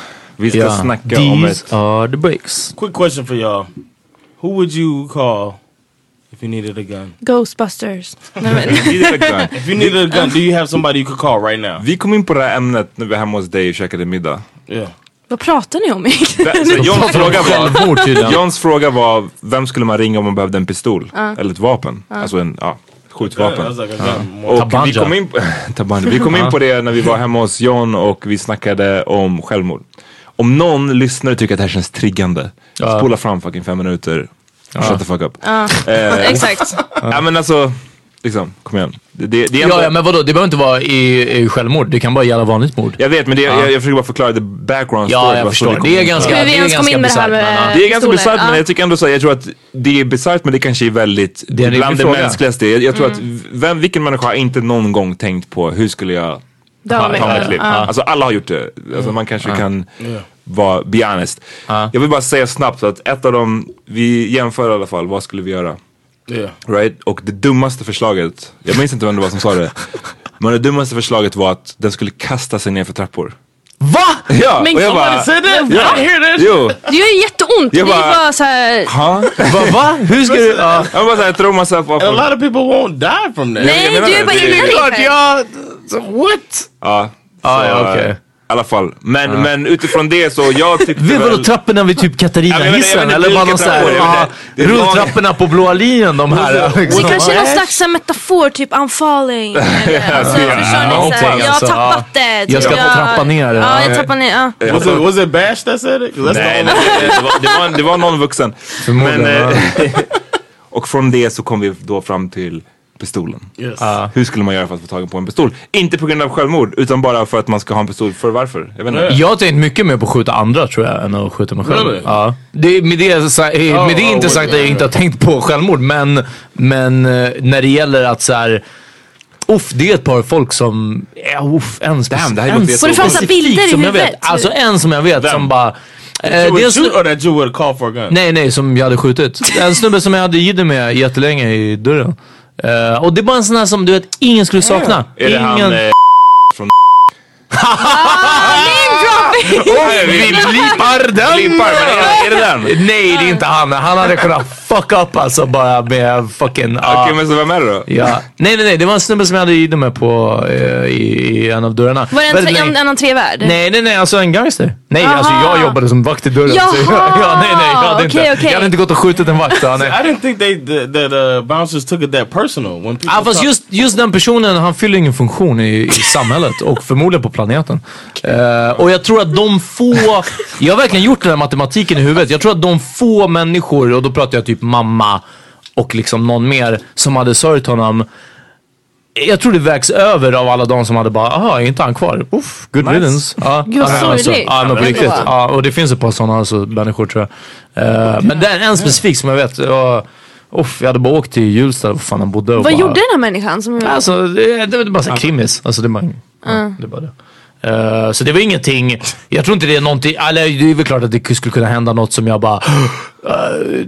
Vi ska snacka om
These
ett...
are the breaks.
Quick question for y'all. Who would you call if you needed a gun?
Ghostbusters. Nej, men.
If you needed a gun, do you have somebody you could call right now?
Vi kom in på det här ämnet när vi var hemma hos dig och käkade middag.
Yeah.
Vad pratar ni om egentligen?
Där- Så Johns fråga var...
Självmord tydligen.
Johns fråga var, vem skulle man ringa om man behövde en pistol? Eller ett vapen? Alltså en, ja, alltså, ett
I
skjutvapen.
was like a gun.
Och
Tabanja.
vi kom in på, Tabanja. Vi kom in på det när vi var hemma hos John och vi snackade om självmord. Om någon lyssnare tycker att det här känns triggande, spola fram fucking fem minuter. Shut the fuck up. Eh,
Exakt.
ja men alltså, liksom, kom igen. Det, det, det är ändå,
Ja, ja, men vadå? Det behöver inte vara i, i självmord. Det kan vara jävla vanligt mord.
Jag vet men det, jag, jag försöker bara förklara the background story.
Ja,
varför
jag
vi
förstår.
kom
Det är
in på
ganska,
Ska vi
det är
ens komma
ganska
in med det här eh,
bisarrt. men,
med-
ja.
Det är ganska
Pistoler,
bisarrt men
ja.
jag tycker ändå så här, jag tror att det är bisarrt men det kanske är väldigt,
Det är en
bland
riktig
det
fråga.
mänskligaste. Jag, jag tror
Mm.
att vem, vilken människa har inte någon gång tänkt på hur skulle jag
Döma mig
ta mitt
själv.
liv?
Ja.
Alltså alla har gjort det. Alltså, man kanske kan vara be honest. Jag vill bara säga snabbt att ett av dem, vi jämför i alla fall, vad skulle vi göra?
Yeah.
Right? Och det dummaste förslaget, jag minns inte vem det var som sa det. Men det dummaste förslaget var att den skulle kasta sig ner för trappor.
Va?
Ja,
Men
och jag
gud,
bara...
vad det säger det.
Ja,
I hear this.
jo.
Det gör ju jätteont. Det är
Jag bara-
bara så här...
Ha?
Va? va? Hur ska du... Ja.
Jag bara såhär, tror man såhär på...
And a lot of people won't die from that.
Nej,
menar
du är
det.
bara
Det är
inne i
Klart jag... What?
Ja.
Ah,
Så,
ja, okej.
eh, alla fall. Men,
Ja.
men utifrån det så jag tyckte
Vi var
väl-
då trapporna vid typ
Ja, men jag vet
Katarina-hissen
inte
eller
vilka
bara någon såhär,
trappor, jag vet
ja,
inte. Det är
rulltrapporna på blåa linjen de här.
Det
liksom.
kanske är någon slags metafor, typ I'm falling. Eller, alltså,
Ja,
förstår ni?
någonting,
Så här, Jag har
alltså,
tappat
ja.
det.
Jag ska
jag,
trappa ner eh, det.
Ja, jag
Ja.
tappar ner. Ja.
Jag
Was it,
tror-
was it Bash that said it? 'Cause
Nej,
That's the
nej,
only
nej, det var, det var, en- det var någon vuxen.
Förmodligen,
Men, eh, och från det så kom vi då fram till pistolen.
Yes.
Hur skulle man göra för att få tag på en pistol? Inte på grund av självmord, utan bara för att man ska ha en pistol. För varför? Jag vet inte.
Jag har tänkt mycket mer på att skjuta andra tror jag än att skjuta mig själv.
Really?
Ja. Det, är- med det, sa- eh,
Oh,
med det är
oh,
inte sagt att jag
wait.
inte har tänkt på självmord, men, men eh, när det gäller att så här. Uff, det är ett par folk som... Ja, uff, en spec-
Damn, det här
en
låter
Och det fanns
specifik
bilder i
som jag vet.
huvudet.
Alltså en som jag vet
Vem?
som bara... Eh,
You would
dels,
shoot or that you would call for a gun?
nej, nej, som jag hade skjutit. En snubbe som jag hade jidder med jättelänge i dörren. Eh, och det är bara en sån här som du vet, ingen skulle sakna.
Är det han
Ingen...
eh, från... Oj,
Vi
vi
blipar den!
blippar, men är, är det den? Okej,
Nej, det är inte han. Han hade kunnat fuck up alltså bara med fucking... ah,
men så vem är det då?
ja. Nej, nej, nej. Det var en snubbe som jag hade jidder med på eh, i, i en av dörrarna.
Var det en,
Väldigt
tre, en,
länge.
en entrévärd?
Nej, nej, nej. Alltså en gangster. Nej,
Aha.
alltså jag jobbade som vakt i dörren. Så jag,
Jaha.
ja, nej, nej. Jag hade,
Okej,
inte,
okej.
jag hade inte gått och skjutit en vakt. Ja, nej.
I didn't think they that, that uh, bouncers took it that personal when people.
Ja, fast
talk-
just, just den personen, han fyller ingen funktion i, i samhället och förmodligen på planeten. Eh, och jag tror att de få, jag har verkligen gjort den här matematiken i huvudet. Jag tror att de få människor, och då pratar jag typ mamma och liksom någon mer, som hade sörjt honom. Jag tror det vägs över av alla de som hade bara, aha, är inte han kvar? Uff, good riddance. Ja,
Gud, vad
ja, men alltså,
sorgligt.
Ja, men på
Ändå.
riktigt. Ja, och det finns ett par sådana alltså, människor tror jag. Eh, Men det är en specifik som jag vet, jag, uff, jag hade bara åkt till Hjulsta, var fan han bodde. och
Vad
bara,
gjorde den här människan? Som...
Alltså, det, det, det är bara såhär krimis. Alltså, det är bara, ja, det, är bara det. Eh, så det var ingenting, jag tror inte det är någonting, eller det är väl klart att det skulle kunna hända något som jag bara, eh,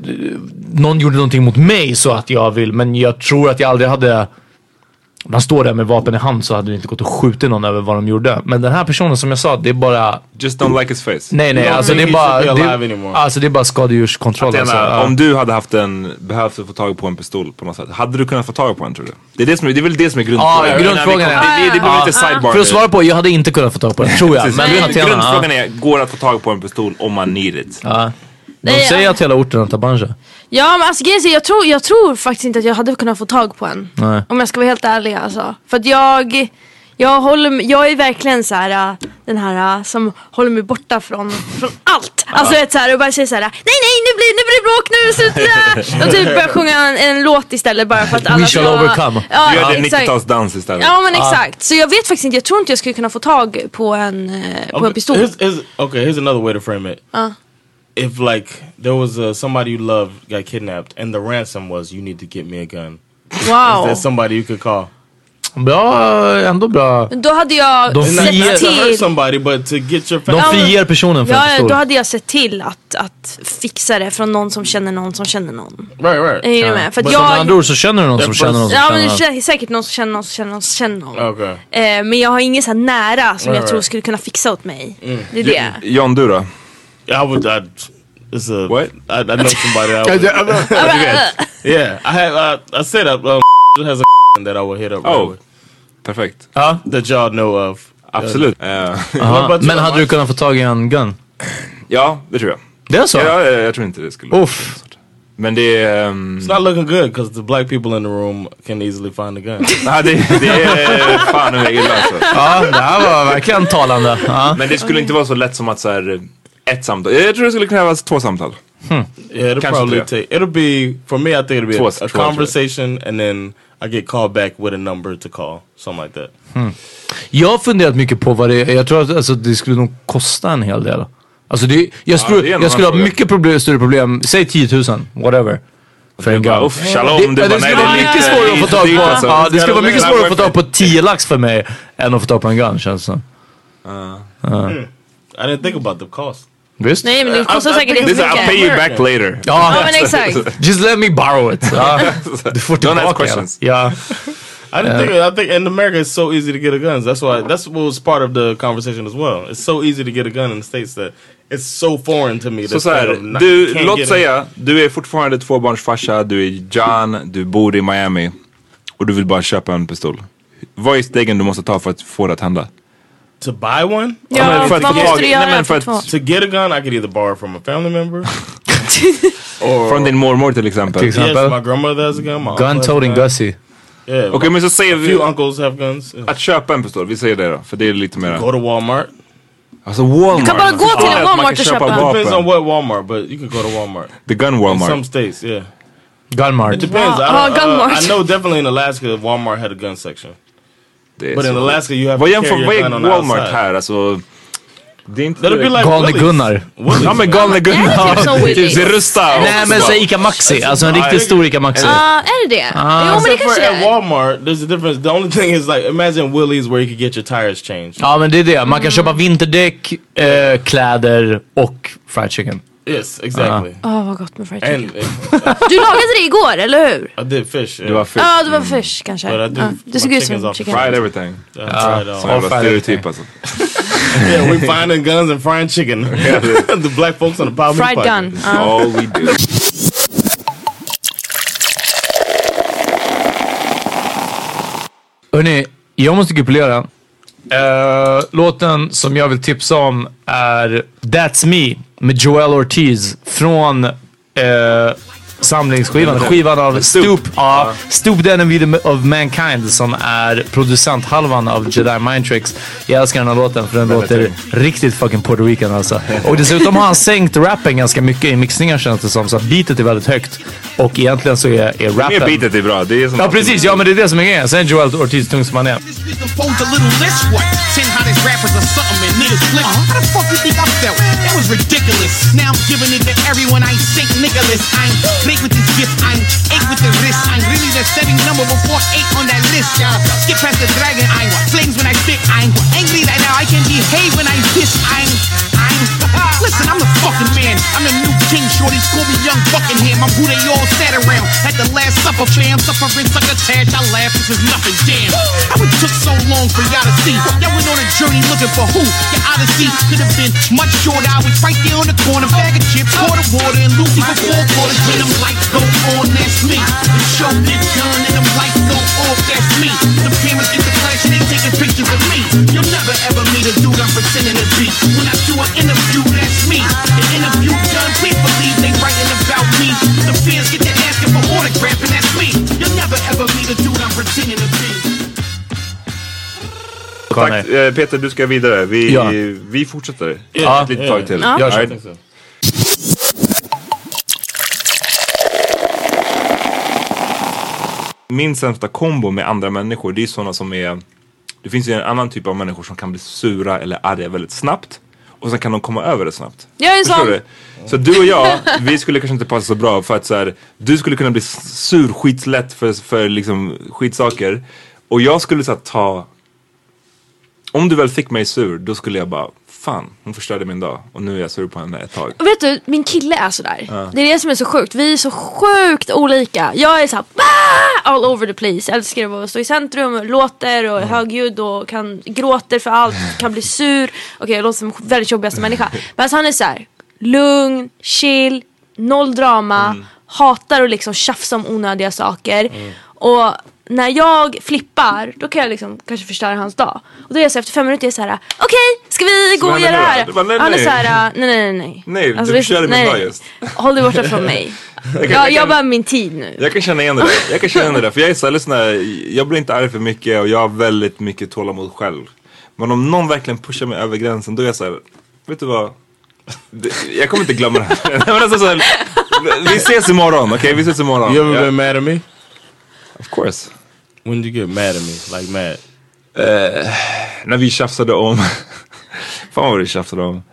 någon gjorde någonting mot mig så att jag vill, men jag tror att jag aldrig hade, om man står där med vapen i hand så hade det inte gått att skjuta någon över vad de gjorde. Men den här personen som jag sa, det är bara,
Just don't like his face.
nej nej,
don't
alltså det
think
är
he
bara,
should be alive
det,
anymore.
alltså, det är bara skadedjurskontroll.
Jag
Alltså,
menar,
ja.
Om du hade haft en, behövt få tag på en pistol på något sätt, hade du kunnat få tag på en tror du? Det är, det som, är- det är väl det som är grundfrågan.
Ja,
Jag menar,
grundfrågan
vi kom-
är-
Det, det, det blir
Ja.
lite sidebar
För
nu.
att svara på, jag hade inte kunnat få tag på den, tror jag.
Precis,
men
grund,
Tatiana, ja.
grundfrågan är, går det att få tag på en pistol om man need it?
De
Nej,
säger
ja.
att hela orten har Tabanja.
Ja men alltså grejen är, jag tror, jag tror faktiskt inte att jag hade kunnat få tag på en.
Nej.
Om jag ska vara helt ärlig alltså. För att jag, jag, håller, jag är verkligen så här äh, den här äh, som håller mig borta från, från allt. Alltså vet så här och bara säger så här: nej nej nu blir, nu blir det bråk, nu är det slut. äh." Och typ börjar sjunga en, en låt istället bara för att alla
shall
ska-
overcome.
Ja,
Du gör en
exakt.
90-talsdans istället.
Ja men exakt, så jag vet faktiskt inte, jag tror inte jag skulle kunna få tag på en, eh, på en pistol.
Here's, here's, okay, here's another way to frame it. If like there was uh, somebody you loved got kidnapped and the ransom was you need to get me a gun,
Wow.
there's somebody you could call.
Bra, ändå bra.
Då hade jag
De
Not,
friger-
not
sett
to hurt
till
somebody, but to get your
De
family.
friger personen för en
Ja,
pistol.
då hade jag sett till att, att fixa det från någon som känner någon som känner någon.
Right, right.
Är ni med? För
Som
att
med andra
jag...
ord så känner du någon som
Den
känner någon som
Ja men
känner
det
någon.
känner säkert någon som känner någon som känner någon som känner någon.
Okay.
Eh, men jag har ingen så här nära som
Right,
jag tror
right.
skulle kunna fixa åt mig. Det är det.
John, du då?
Yeah, I would. I'd, it's a.
What?
I, I know somebody. I would, yeah, I have. I, I said uh, um, has a that I would hit up. right
Oh.
away.
Perfekt.
Ja,
that y'all know of.
Absolut. Eh,
aha.
about you,
Men hade du
Mike?
kunnat få tag i en gun?
ja, det tror jag.
Det är så?
Ja, jag, jag tror inte det skulle
Uff.
Men det är... ehm,
It's not looking good because the black people in the room can easily find a gun.
nej, det, det är fan vad illa alltså.
Ja, det här var verkligen talande. Ja.
Men det skulle inte vara så lätt som att så här, eh, ett samtal. Jag tror det skulle krävas två samtal.
yeah, it'll
Can't
probably
do that.
take. It'll be for me. I think it'll be
Towards-
a, a
towards it.
conversation, and then I get called back with a number to call, something like that.
Jag har funderat mycket på vad det är. Jag tror att alltså, det skulle nog kosta en hel del. Alltså det, jag, skulle,
det är en
jag skulle ha
annan fråga.
mycket problem, större problem, säg 10 000, whatever. För en gun.
Uff, shalom.
det,
bara,
det
nej,
skulle vara
är
mycket
lite-
svårare att få
lite
tag
dyrt,
på.
alltså.
Ja, det skulle vara mycket svårare att
worth
få tag på 10 lax för mig än att få tag på en gun känns det som.
I didn't think about the cost.
Visst?
Nej men det
Alltså,
kostar
I- I
Alltså, säkert
think
This is, I'll pay
jättemycket.
you back later.
Ja,
Ja men exakt.
Just let me borrow it. Ja. Du får
Don't ask
tillbaka
questions.
Ja.
I didn't think. I think in America it's so easy to get a gun. That's why. That's what was part of the conversation as well. It's so easy to get a gun in the states that it's so foreign to me.
Så
that
så
kind of
här,
not-
du,
can't
låt
get
säga, du är fortfarande tvåbarnsfarsa, du är John, du bor i Miami och du vill bara köpa en pistol. Vad är stegen du måste ta för att få det att hända?
to buy one?
Ja,
men för att
man
få
måste
tag-
du göra
nej, men för
för
att-
att få.
To get a gun, I could either borrow from a family member.
Från din mormor till exempel.
Till exempel.
Yes, my grandmother has a gun. my uncle has a
Gun-toting
gun.
Gussie.
Yeah,
Okej, men så säger
my few
vi
uncles have guns. Yeah.
att köpa en pistol. Vi säger det då, för det är lite mer...
Go to Walmart.
Alltså Walmart.
Du kan bara gå till en
Ja, man
Walmart
kan
och köpa.
Depends
vapen.
on what Walmart, but you could go to Walmart.
The gun
In some
Walmart.
states, yeah. It
Gunmart.
depends. I,
Ah,
don't-
gun
uh,
mart.
I know definitely in Alaska, Walmart had a gun section.
Det är
But in
så.
Alaska, you have
Vad
to carry
jämför,
your
vad
gun
är
on
Walmart
outside.
här? Alltså, det är inte
That'll be
direkt-
like
Galne
Willys.
Gunnar.
Willys.
Ja men galne Gunnar.
typ som Willys.
Typ Rusta.
Nej men så Ica Maxi, alltså en riktigt stor Ica Maxi. Ah,
Ja, är det det? Ah. Jo, men det
Except for
kanske det
at
är.
Walmart, there's a difference. The only thing is like, imagine Willie's where you could get your tires changed.
Ja men det är det, man kan köpa vinterdäck, eh, kläder och fried chicken.
Yes, exactly.
Åh, vad gott med fried chicken.
And uh,
Du lagade det igår, eller hur?
I did fish. Yeah.
Det var fett.
Ja, det var Oh, fish Oh, kanske.
But I do-
Ja, det såg
my
ut
chicken's
som
off the
chicken.
Fried everything.
I tried all.
Sån jävla
fried everything.
stereotyp alltså.
yeah, we finding guns and frying chicken. the black folks on the power
Fried gun. Ja.
All we do.
Hörni, jag måste kupolera. Eh, låten som jag vill tipsa om är That's Me med Joel Ortiz från eh, samlingsskivan. Skivan av Mm. Stoop. Ja, Stoop the Enemy of Mankind som är producenthalvan av Jedi Mind Tricks. Jag älskar den här låten för den låter riktigt fucking Puerto Rican alltså. Och dessutom har han sänkt rappen ganska mycket i mixningar känns det som. Så att beatet är väldigt högt. Och egentligen så är, är
Mer
rappen...
beatet är bra. Det är som
Ja precis, ja men det är det som är grejen. Sen är Joel Ortiz tung som han är.
Fold a little this way. Ten hottest rappers or something and niggas flip. How the fuck you think I felt? That was ridiculous. Now I'm giving it to everyone. I ain't St. Nicholas. I'm big with this gift. I'm eight with the wrist. I'm really the seven number before eight on that list. Y'all skip past the dragon. I'm flames when I spit. I'm angry right now. I can behave when I diss. I'm, I'm. Listen, I'm the fucking man. I'm the new king. Shorties call me Young Buckingham. I'm who they all sat around at the last supper, fam. Suffering sucker attached. I laugh. This is nothing. Damn. I would took so long for y'all to see. Y'all went on a journey looking for who? Your Odyssey could have been much shorter. I was right there on the corner, bag of chips, quarter water, and Lucy for four quarters. When them lights go on, that's me. The show did done, and them lights go off, that's me. The cameras get the flash, and they taking pictures of me. You'll never ever meet a dude I'm pretending to be. When I do an interview, that's me. An interview done, please believe they writing about me. The fans get to asking for autograph, and that's me. You'll never ever meet a dude I'm pretending to be.
Tack, eh, Peter, du ska vidare. Vi,
Ja.
vi fortsätter.
Ja.
Ett litet tag till.
Ja.
Gör så.
Alright. Min sämsta kombo med andra människor, det är sådana som är... Det finns ju en annan typ av människor som kan bli sura eller arga väldigt snabbt. Och sen kan de komma över det snabbt.
Jag är en
Förstår
sån.
du? Så du och jag, vi skulle kanske inte passa så bra för att så här, du skulle kunna bli s- sur skitlätt för, för liksom skitsaker. Och jag skulle så här, ta, om du väl fick mig sur, då skulle jag bara, fan hon förstörde min dag och nu är jag sur på henne ett tag.
Och Vet du, min kille är sådär. Det är det som är så sjukt. Vi är så sjukt olika. Jag är såhär "Ah!" all over the place. Jag älskar att stå i centrum, och låter
Mm.
och är högljudd och kan, gråter för allt, kan bli sur. Okej, jag låter som världens jobbigaste människa. Men alltså, han är såhär lugn, chill, noll drama,
Mm.
hatar att liksom tjafsa om onödiga saker. Och när jag flippar, då kan jag liksom kanske förstöra hans dag. Och då är jag så här, efter fem minuter, jag är så här, okej, ska vi gå
Vad
och
händer
göra det
nu då?
här?
Det var- nej,
Han är
nej.
så här, Ah, nej, nej, nej. Alltså,
Nej, du
det är
förstörde
så-
min dag just.
Håll dig borta från mig.
Jag kan-
ja,
jag
jag
kan-
bara min tid nu.
Jag kan känna igen det där. Jag kan känna igen det där. För jag är så här, lyssna, jag blir inte arg för mycket och jag har väldigt mycket tålamod själv. Men om någon verkligen pushar mig över gränsen då är jag så här, vet du vad? Det- Jag kommer inte glömma det här. Nej, men alltså, så här vi ses imorgon, okej? Vi ses imorgon.
You ever
Ja,
been mad at me?
of course.
When did you get mad at me? Like mad?
När vi tjafsade om, fan vad vi tjafsade om.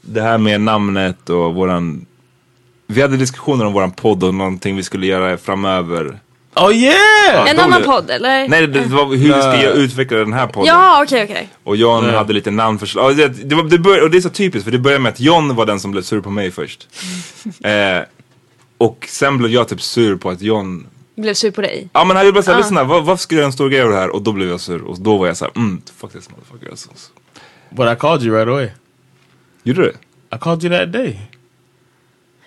Det här med namnet och våran, vi hade diskussioner om våran podd och någonting vi skulle göra framöver.
Oh yeah!
en
då
annan
det-
podd eller?
Nej, det, det var hur vi ska göra- utveckla den här podden.
Ja, okej, okej.
Och John hade lite namnförslag. Och det, det, var, det bör, och det är så typiskt för det började med att John var den som blev sur på mig först.
Mm.
eh, och sen blev jag typ sur på att John
Blev sur på dig.
Ja men han gjorde
Ah.
bara såhär, lyssna vad- varför ska du göra en stor grej av det här? Och då blev jag sur och då var jag såhär, mm fuck this motherfucker alltså.
But I called you right away.
Gjorde du det?
I called you that day.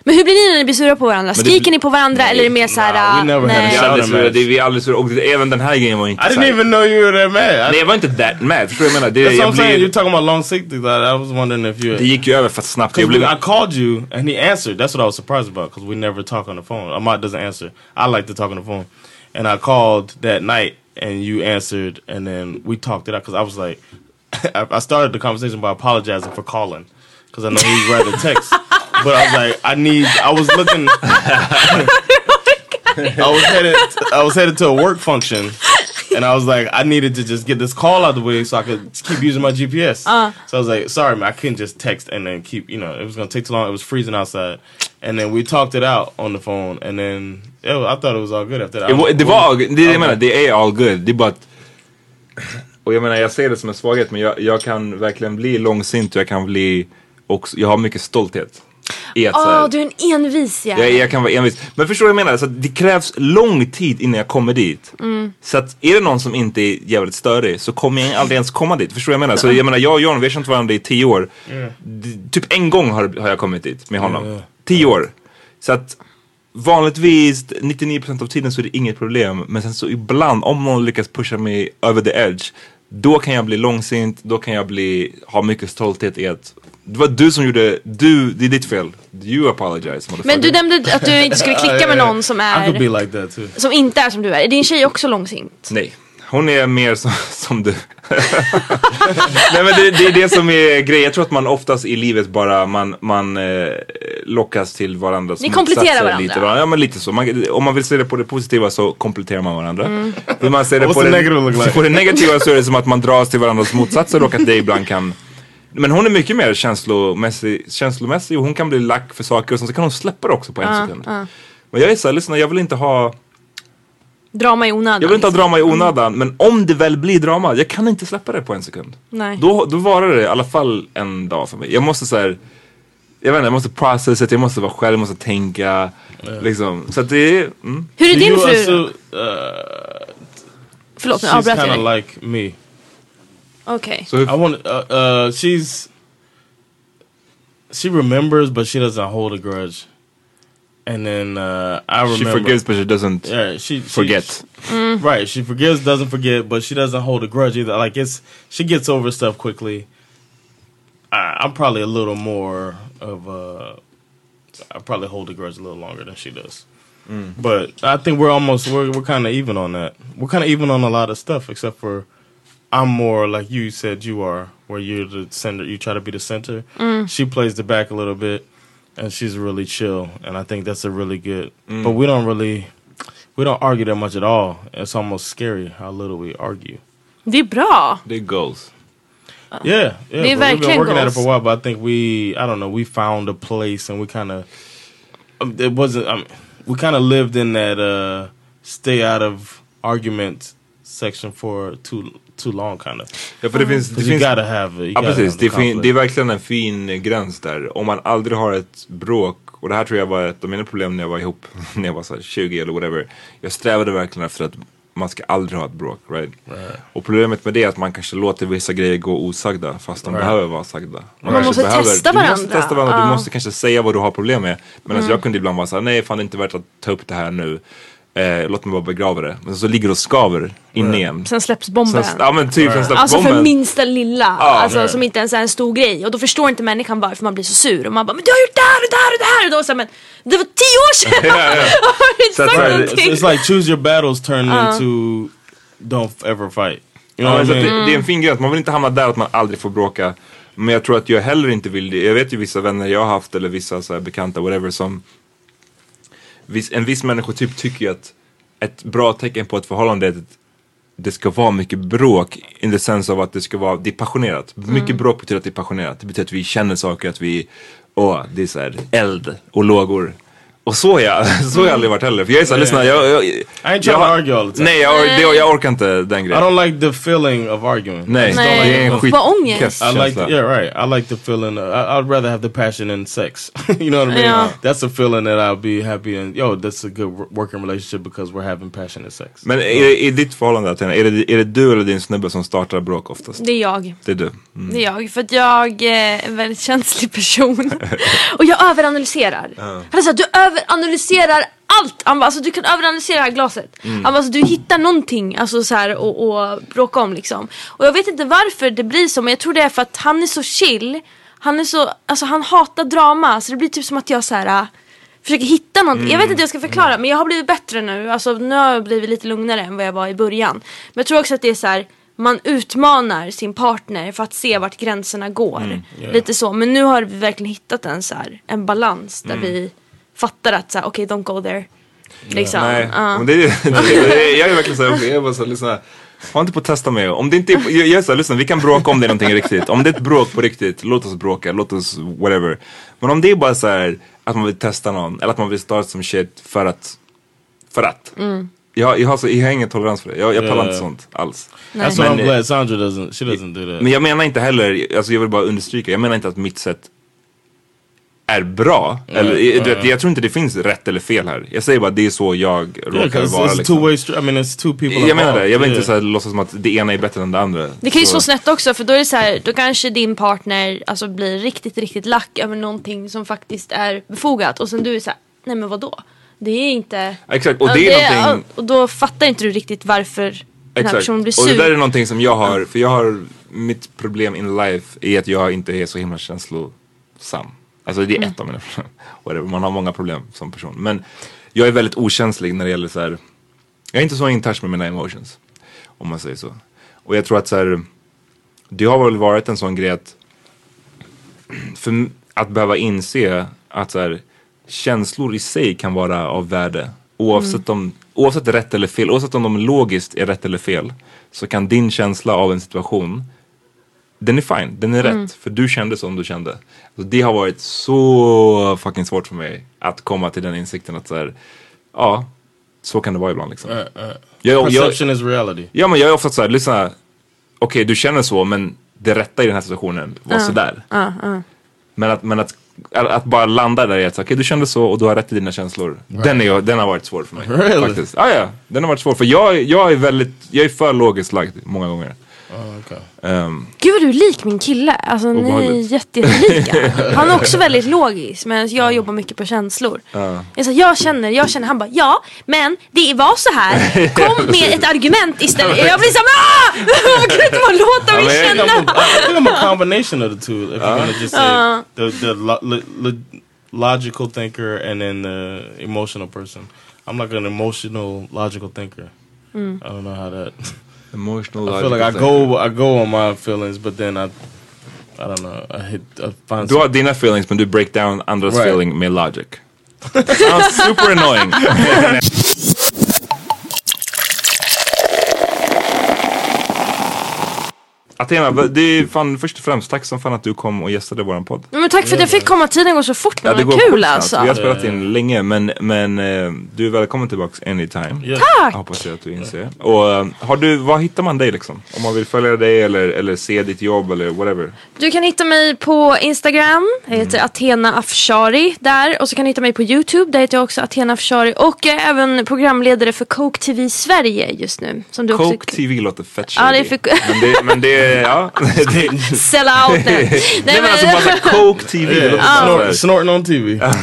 Men hur blir ni när ni blir sura på varandra?
Men det-
Skriker ni på varandra eller är det mer såhär...
Vi är aldrig sura,
match.
det- vi är aldrig sura. Och det- även den här grejen var inte
I didn't
så här-
even know you were that mad. I-
Nej, jag var inte that mad. Förstår du vad jag menar? Det,
That's what
jag
I'm saying.
blir-
You're talking about long sick. things. I, I was wondering if you.
det gick ju över för snabbt.
Cause
Jag blev,
we- I called you and he answered. That's what I was surprised about because we never talk on the phone. Ahmad doesn't answer. I like to talk on the phone. And I called that night and you answered and then we talked it out because I was like, I, I started the conversation by apologizing for calling because I know he'd rather text. But I was like, I need, I was looking, I was headed, I was headed to a work function, and I was like, I needed to just get this call out of the way so I could keep using my GPS.
Uh.
So I was like, sorry, man, I couldn't just text and then keep, you know, it was gonna take too long. It was freezing outside, and then we talked it out on the phone, and then it was, I thought it was all good after that. I
Det var,
was-
det var all, det, är det jag menar, det är all good. Det är bara att... Och jag menar, jag ser det som en svaghet men jag, jag kan verkligen bli långsint och jag kan bli... Också, jag har mycket stolthet. I att, så
Åh,
här,
du är en envis jävel.
jag, jag kan vara envis. Men förstår du vad jag menar? Så att det krävs lång tid innan jag kommer dit. Mm. Så att är det någon som inte är jävligt störig så kommer jag aldrig ens komma dit. Förstår du vad jag menar?
Mm.
Så jag menar, jag och John, vi har känt varandra i tio år. D- Typ en gång har, har jag kommit dit med honom.
Ja.
Tio år. Så att vanligtvis 99% av tiden så är det inget problem. Men sen så ibland, om någon lyckas pusha mig över the edge. Då kan jag bli långsint, då kan jag bli, ha mycket stolthet i att det var du som gjorde, du, det är ditt fel. You apologize.
Men du nämnde att du inte skulle klicka med någon som
I could be
är...
like-
like that too.
Som inte är som du är. Är din tjej också långsint?
Nej, hon är mer som, som du. Nej men det, det är det som är grejen. Jag tror att man oftast i livet bara man, man eh, lockas till varandras
Ni kompletterar
motsatser
varandra.
Lite, va? ja men lite så. Man, om man vill se det på det positiva så kompletterar man varandra.
Mm.
Vill man se det
What's
på,
the
det,
negative look like?
på det negativa så är det som att man dras till varandras motsatser och att det ibland kan men hon är mycket mer känslomässig, känslomässig och hon kan bli lack för saker och sen så kan hon släppa det också på en
Ja,
sekund.
ja.
Men jag är såhär, lyssna jag vill inte ha
Drama i onödan. liksom.
jag vill inte ha drama i onödan, men om det väl blir drama, jag kan inte släppa det på en sekund.
Nej.
Då, då varar det i alla fall en dag för mig. Jag måste så här, jag vet inte, jag måste processa, jag måste vara själv, jag måste tänka. Liksom. Så att det är... Mm.
Hur är din
You
fru?
also,
Förlåt, nu
she's
avbröt jag
kind
dig.
of like me.
Okej.
So if-
I want. Uh, uh, she's. She remembers, but she doesn't hold a grudge. And then uh, I
She
remember.
forgives, but she doesn't
Yeah, she, she
forget.
Mm.
Right, she forgives, doesn't forget, but she doesn't hold a grudge either. Like it's, she gets over stuff quickly. I, I'm probably a little more of a. I probably hold a grudge a little longer than she does. But I think we're almost we're we're kind of even on that. We're kind of even on a lot of stuff, except for I'm more like you said you are, where you're the center. You try to be the center.
Mm.
She plays the back a little bit, and she's really chill. And I think that's a really good.
Mm.
But we don't really we don't argue that much at all. It's almost scary how little we argue.
Det är bra.
Det är goals.
Yeah, yeah.
Det är
but we've been
verkligen
working at it
goals.
for a while, but I think we, I don't know, we found a place and we kind of, um, it wasn't, um, we kind of lived in that uh, stay out of argument section for too too long kind of.
Ja, för det finns, det
you
finns,
gotta have it. You
ja,
gotta
precis.
have the
Det, fin,
conflict.
det är verkligen en fin eh, gräns där. Om man aldrig har ett bråk, och det här tror jag var ett av mina problem när jag var ihop, när jag var så här 20 eller whatever. Jag strävade verkligen efter att man ska aldrig ha ett bråk, right? Och problemet med det är att man kanske låter vissa grejer gå osagda fast de
Right.
behöver vara sagda.
Man måste
kanske
testa
Du måste
varandra.
testa varandra,
Ja.
du måste kanske säga vad du har problem med. Medan
Mm.
jag kunde ibland vara såhär, nej fan det är inte värt att ta upp det här nu. Eh, låt mig bara begrava det. Men så ligger det och skaver inne igen.
Sen släpps bomben.
Sen- ja, men typ, sen släpps
alltså för
bomben.
minsta lilla.
Ja,
alltså
nej.
som inte ens är en stor grej. Och då förstår inte människan varför man blir så sur. Och man bara men du har gjort det här och det här och det här. Och då säger men det var tio år sedan!
Yeah, yeah.
Har du inte
That's
sagt
right. It's,
någonting?
it's like choose your battles turned
Uh.
into don't f- ever fight. You know
Ja, mm.
what I
så att
mean?
det, det är en fin gräns, man vill inte hamna där att man aldrig får bråka. Men jag tror att jag heller inte vill det. Jag vet ju vissa vänner jag har haft eller vissa så här bekanta whatever som viss, en viss människotyp tycker ju att ett bra tecken på ett förhållande är att det ska vara mycket bråk in the sense av att det ska vara, det är passionerat. Mycket
Mm.
bråk betyder att det är passionerat. Det betyder att vi känner saker, att vi, åh, det är så här eld och lågor. Och så är jag, så har jag aldrig varit heller. För jag är såhär, lyssna, jag... jag, jag
I ain't trying to argue all the time.
typ. Nej, jag, or- det, jag orkar inte den
I
grejen.
don't like the feeling of arguing.
Nej,
I just don't like
det är en
the feeling.
skit...
Vad ångest.
känsla.
I like, yeah, right. I like the feeling. Uh, I, I'd rather have the passion in sex. you know what I mean?
Yeah.
That's a feeling that I'll be happy in. Yo, that's a good wor- working relationship because we're having passionate sex.
Men i, i ditt förhållande, Athena, är det, är det du eller din snubbe som startar bråk oftast?
Det är jag.
Det är du. Mm.
Det är jag. För att jag eh, är en väldigt känslig person. Och jag överanalyserar. Han sa du överanalyserar allt. Han bara, alltså, du kan överanalysera det här glaset. Han bara, alltså, du hittar någonting alltså, så här, och, och bråka om liksom. Och jag vet inte varför det blir så men jag tror det är för att han är så chill. Han är så, alltså han hatar drama så det blir typ som att jag så här äh, Försöker hitta någonting. Jag vet inte hur jag ska förklara men jag har blivit bättre nu. Alltså nu har jag blivit lite lugnare än vad jag var i början. Men jag tror också att det är så här man utmanar sin partner för att se vart gränserna går. Lite så. Men nu har vi verkligen hittat en, så här, en balans där vi fattar att så här, okej don't go there. Liksom.
Nej,
Ja.
men det, är ju- det, är- det, är- jag är verkligen såhär, jag är bara såhär, lyssna. Var inte på att testa mig. Om det inte är, på- jag jag är såhär, lyssna, vi kan bråka om det är någonting riktigt. Om det är ett bråk på riktigt, låt oss bråka, låt oss whatever. Men om det är bara såhär att man vill testa någon, eller att man vill starta som shit för att, för att.
Mm.
Jag, jag, har så, jag har ingen tolerans för det. Jag, jag pallar inte
Ja. Alltså,
sånt alls.
That's why I'm
Men-
glad Sandra doesn't. She doesn't do that.
Men jag menar inte heller, alltså jag vill bara understryka, jag menar inte att mitt sätt är bra. eller, eh,
ja,
du vet, Jag tror inte det finns rätt eller fel här. Jag säger bara det är så jag
Yeah,
råkar
'cause
vara.
it's
liksom.
two way street. I mean, it's two people.
Jag menar
involved.
det, jag vill
Yeah.
inte så här, låtsas som att det ena är bättre än det andra.
Det kan ju slå snett också för då är det så här, då kanske din partner alltså, blir riktigt, riktigt lack över någonting som faktiskt är befogat och sen du är så här, nej men vadå? Det är inte...
Exakt, och
Ja,
det är någonting...
ja, Och då fattar inte du riktigt varför den här
Exakt.
personen blir
Och det där är
sur.
någonting som jag har, för jag har, mitt problem in life är att jag inte är så himla känslosam. Alltså
Mm.
det är ett av mina problem. Whatever, man har många problem som person. Men jag är väldigt okänslig när det gäller så här. jag är inte så in touch med mina emotions. Om man säger så. Och jag tror att så här, det har väl varit en sån grej att, för m- att behöva inse att så här, känslor i sig kan vara av värde. Oavsett, om, oavsett rätt eller fel, oavsett om de logiskt är rätt eller fel, så kan din känsla av en situation, den är fine, den är rätt. För du kände som du kände. Så det har varit så fucking svårt för mig att komma till den insikten att så här, ja, så kan det vara ibland liksom. Jag, jag,
Perception is reality.
Ja men jag är ofta såhär, lyssna. Okej du känner så men det rätta i den här situationen var sådär. Men, att, men att, att bara landa där i att, så, okej du kände så och du har rätt i dina känslor. Den, är, jag- den har varit svår för mig.
Really?
Faktiskt. Ah, ja, den har varit svår för jag, jag är väldigt, jag är för logiskt lagd många gånger.
Oh, okay.
Ehm,
Gud vad du är lik min kille. Alltså ni är
Obehagligt.
jätte- jättelika. Han är också väldigt logisk men jag jobbar mycket på känslor. Jag, sa, jag känner, jag känner. Han bara ja men det var så här. Kom med ett argument istället. Jag blir såhär ah! Man kan inte bara låta
Ja, men
mig
jag-
I think
känna.
I'm a, I think I'm a combination of the two. If you're gonna just say the the lo, lo, lo, logical thinker and then the emotional person, I'm like an emotional logical thinker. I don't know how that.
emotional
I feel like I go I go on my feelings, but then I I don't know. I hit I find
Du har dina feelings men du break down andras
Right.
feeling med logic. That sounds super annoying. Athena, v- det är fan först och främst tack som fan att du kom och gästade våran podd.
Men tack för att jag fick komma. Tiden går så fort nu. Vad
sjukt
kul
snabbt. Vi har
alltså.
spelat in länge men, men eh, du är välkommen tillbaks anytime.
Yeah.
Jag hoppas jag att du inser. Och eh, har du, var hittar man dig liksom? Om man vill följa dig eller, eller se ditt jobb eller whatever.
Du kan hitta mig på Instagram. Jag heter
Mm.
Athena Afshari där. Och så kan du hitta mig på YouTube. Där heter jag också Athena Afshari. Och jag är även programledare för Coke TV Sverige just nu. Som du
Coke
också...
TV låter fett
Ja, det är
shady.
för-
Men det, men det, ja. Det, det,
Sell out nu.
Nej, men alltså bara så här, Coke TV. det låter
Snort-
så här.
snorting on TV.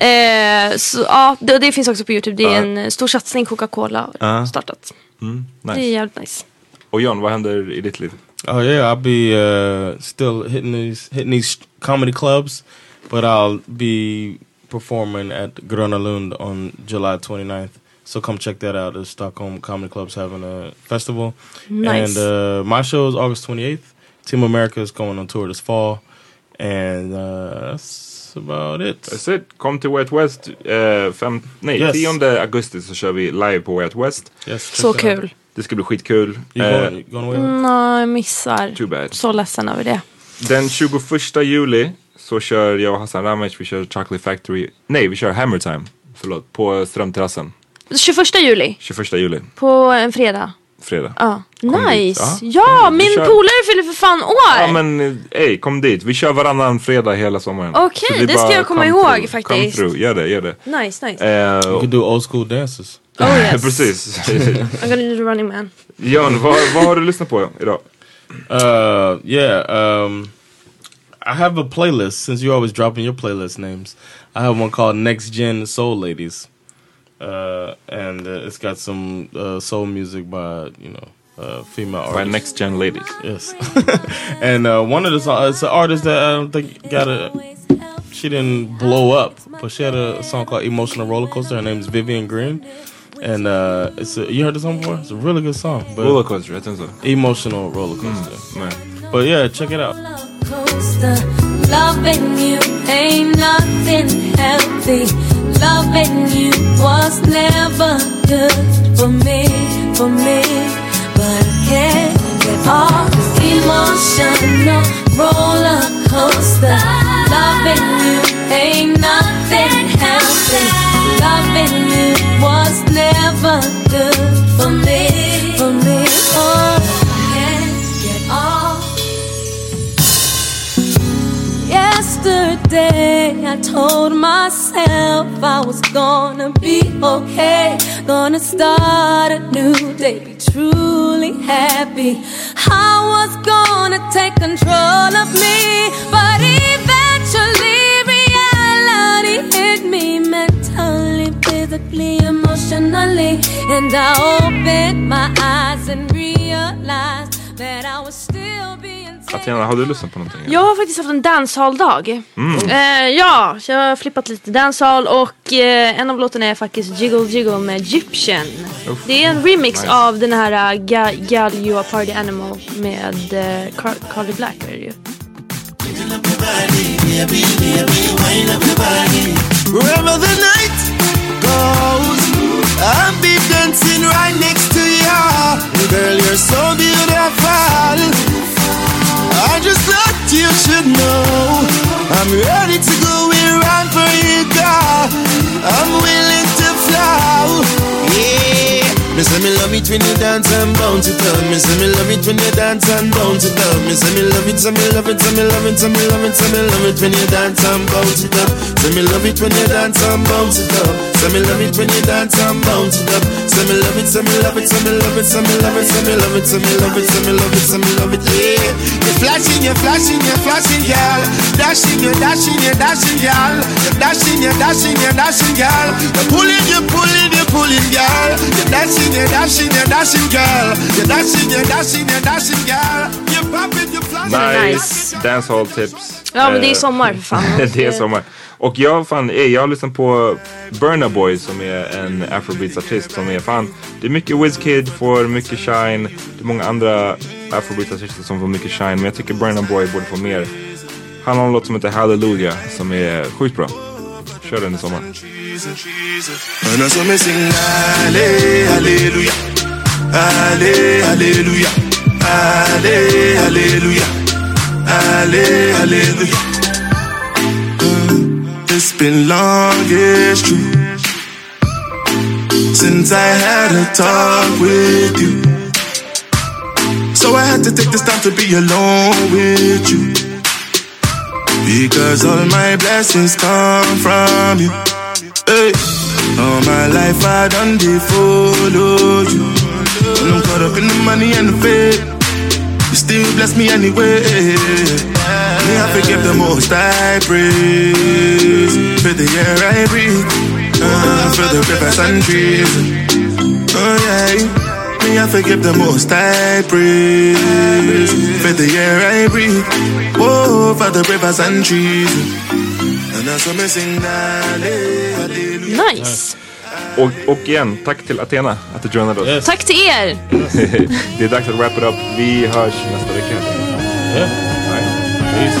Eh, så, ja, det, det finns också på Youtube. Det är en eh, stor satsning Coca-Cola har startat. Det är
Nice.
jävligt nice.
Och John, vad händer i ditt liv?
Oh yeah, I'll be uh, still hitting these hitting these comedy clubs, but I'll be performing at Gröna Lund on July 29th. So come check that out. The Stockholm Comedy Club's having a festival,
Nice.
and uh, my show is August 28th. Team America is going on tour this fall, and uh, that's about it.
That's it. Kom till Way Out West. eh, fem, nej,
Yes.
10 augusti så kör vi live på Way Out West.
Yes, check
Så
that out.
kul.
Det ska bli skitkul.
You
Eh,
going, you going away?
Nå, jag missar.
Too bad.
Så ledsen över det.
Den 21 juli så kör jag och Hassan Ramic, vi kör Chocolate Factory. Nej, vi kör Hammer Time. Förlåt, på Strömterrassen.
21 juli,
21 juli,
på en fredag.
fredag.
Ja, nice.
dit,
Ja, min
kör.
polare fyller för fan år.
Ja men eh, ey, kom dit. Vi kör varannan fredag hela sommaren.
Okej,
Så är
det ska
bara
jag komma
come
ihåg
through, Come
faktiskt.
through. Gör det, gör det.
Nice, nice.
Eh,
You can do old school dances.
Oh yes.
precis.
I'm gonna do the running man.
Jan, vad, vad har du lyssnat på idag?
Uh, yeah. Um, I have a playlist since you're always dropping your playlist names. I have one called Next Gen Soul Ladies, uh, and uh, it's got some uh, soul music by you know uh, female
By
artists.
Next Gen Ladies.
Yes. and uh, one of the songs, it's an artist that I don't think got a. She didn't blow up, but she had a song called "Emotional Roller Coaster." Her name is Vivian Green, and uh, it's a, you heard the song before. It's a really good song, but
Rollercoaster, jag tänkte så.
emotional roller coaster.
Nej.
But yeah, check it out.
coaster. Loving you ain't nothing healthy. Loving you was never good for me, for me. But I can't get off this emotional roller coaster. Loving you ain't nothing healthy. Loving you was never good for me, for me. Oh, I can't get off. Yesterday, I told myself I was gonna be okay. Gonna start a new day, be truly happy. I was gonna take control of me, but eventually reality hit me mentally, physically, emotionally. And I opened my eyes and realized that I was still being taken.
Athena, har du lyssnat på någonting?
Jag har faktiskt haft en dancehall-dag.
Mm.
Eh, ja, så jag har flippat lite dancehall och eh, en av låtarna är faktiskt Jiggle Jiggle med Egyptian.
Uff.
Det är en remix
Nice.
av den här uh, Ga- Gal You Are Party Animal med eh, Car- Carly Black är det ju.
Wherever the night goes, I'll be dancing right next to you. Girl, you're so beautiful. I just thought you should know. I'm ready to go around for you, girl. I'm willing to fly. Yeah. Me say me love it when you dance and bounce it down. Me say me love it when you dance and bounce it down. Me say me love it, say me love it, say me love it, say me love it, say me love it when you dance and bounce it up. Say me love it when you dance and bounce it up. Say me love it when you dance and bounce it up. Say me love it, say me love it, say me love it, say me love it, say me love it, say me love it, say me love it, say me love it. Yeah, you're flashing, you're flashing, you're flashing, girl. Dashing, you're dashing, you're dashing, girl. You're dashing, you're dashing, you're dashing, girl. You're pulling, you're pulling, you're pulling, girl. You're dashing, you're dashing, you're dashing, girl. You're dashing, you're dashing, you're dashing, girl. You're popping, you're flashing.
Nice,
you're
dancehall tips.
Ja men det är
Eh,
sommar för fan.
det är sommar. Och jag, fan, eh, jag har lyssnat på Burna Boy som är en afrobeats-artist som är fan, det är mycket Wizkid får mycket shine, det är många andra afrobeats-artister som får mycket shine men jag tycker Burna Boy borde få mer. Han har en låt som heter Hallelujah som är sjukt bra. Kör den i sommar.
And that's what me sing Alle, hallelujah Alle, hallelujah Alle, hallelujah Alle, hallelujah Mm, It's been long, it's true Since I had a talk with you So I had to take this time to be alone with you Because all my blessings come from you Hey, all my life I done they follow you. And I'm caught up in the money and the fame. You still bless me anyway. Me I forgive the most I praise for the air I breathe, uh, for the rivers and trees. Oh yeah, me I forgive the most I praise for the air I breathe, oh for the rivers and trees. And that's what me sing, alle, hallelujah.
Nice.
Och, och igen, tack till Athena att du joinade oss.
Tack till er.
det är dags att wrap it up. Vi hörs nästa vecka. Peace.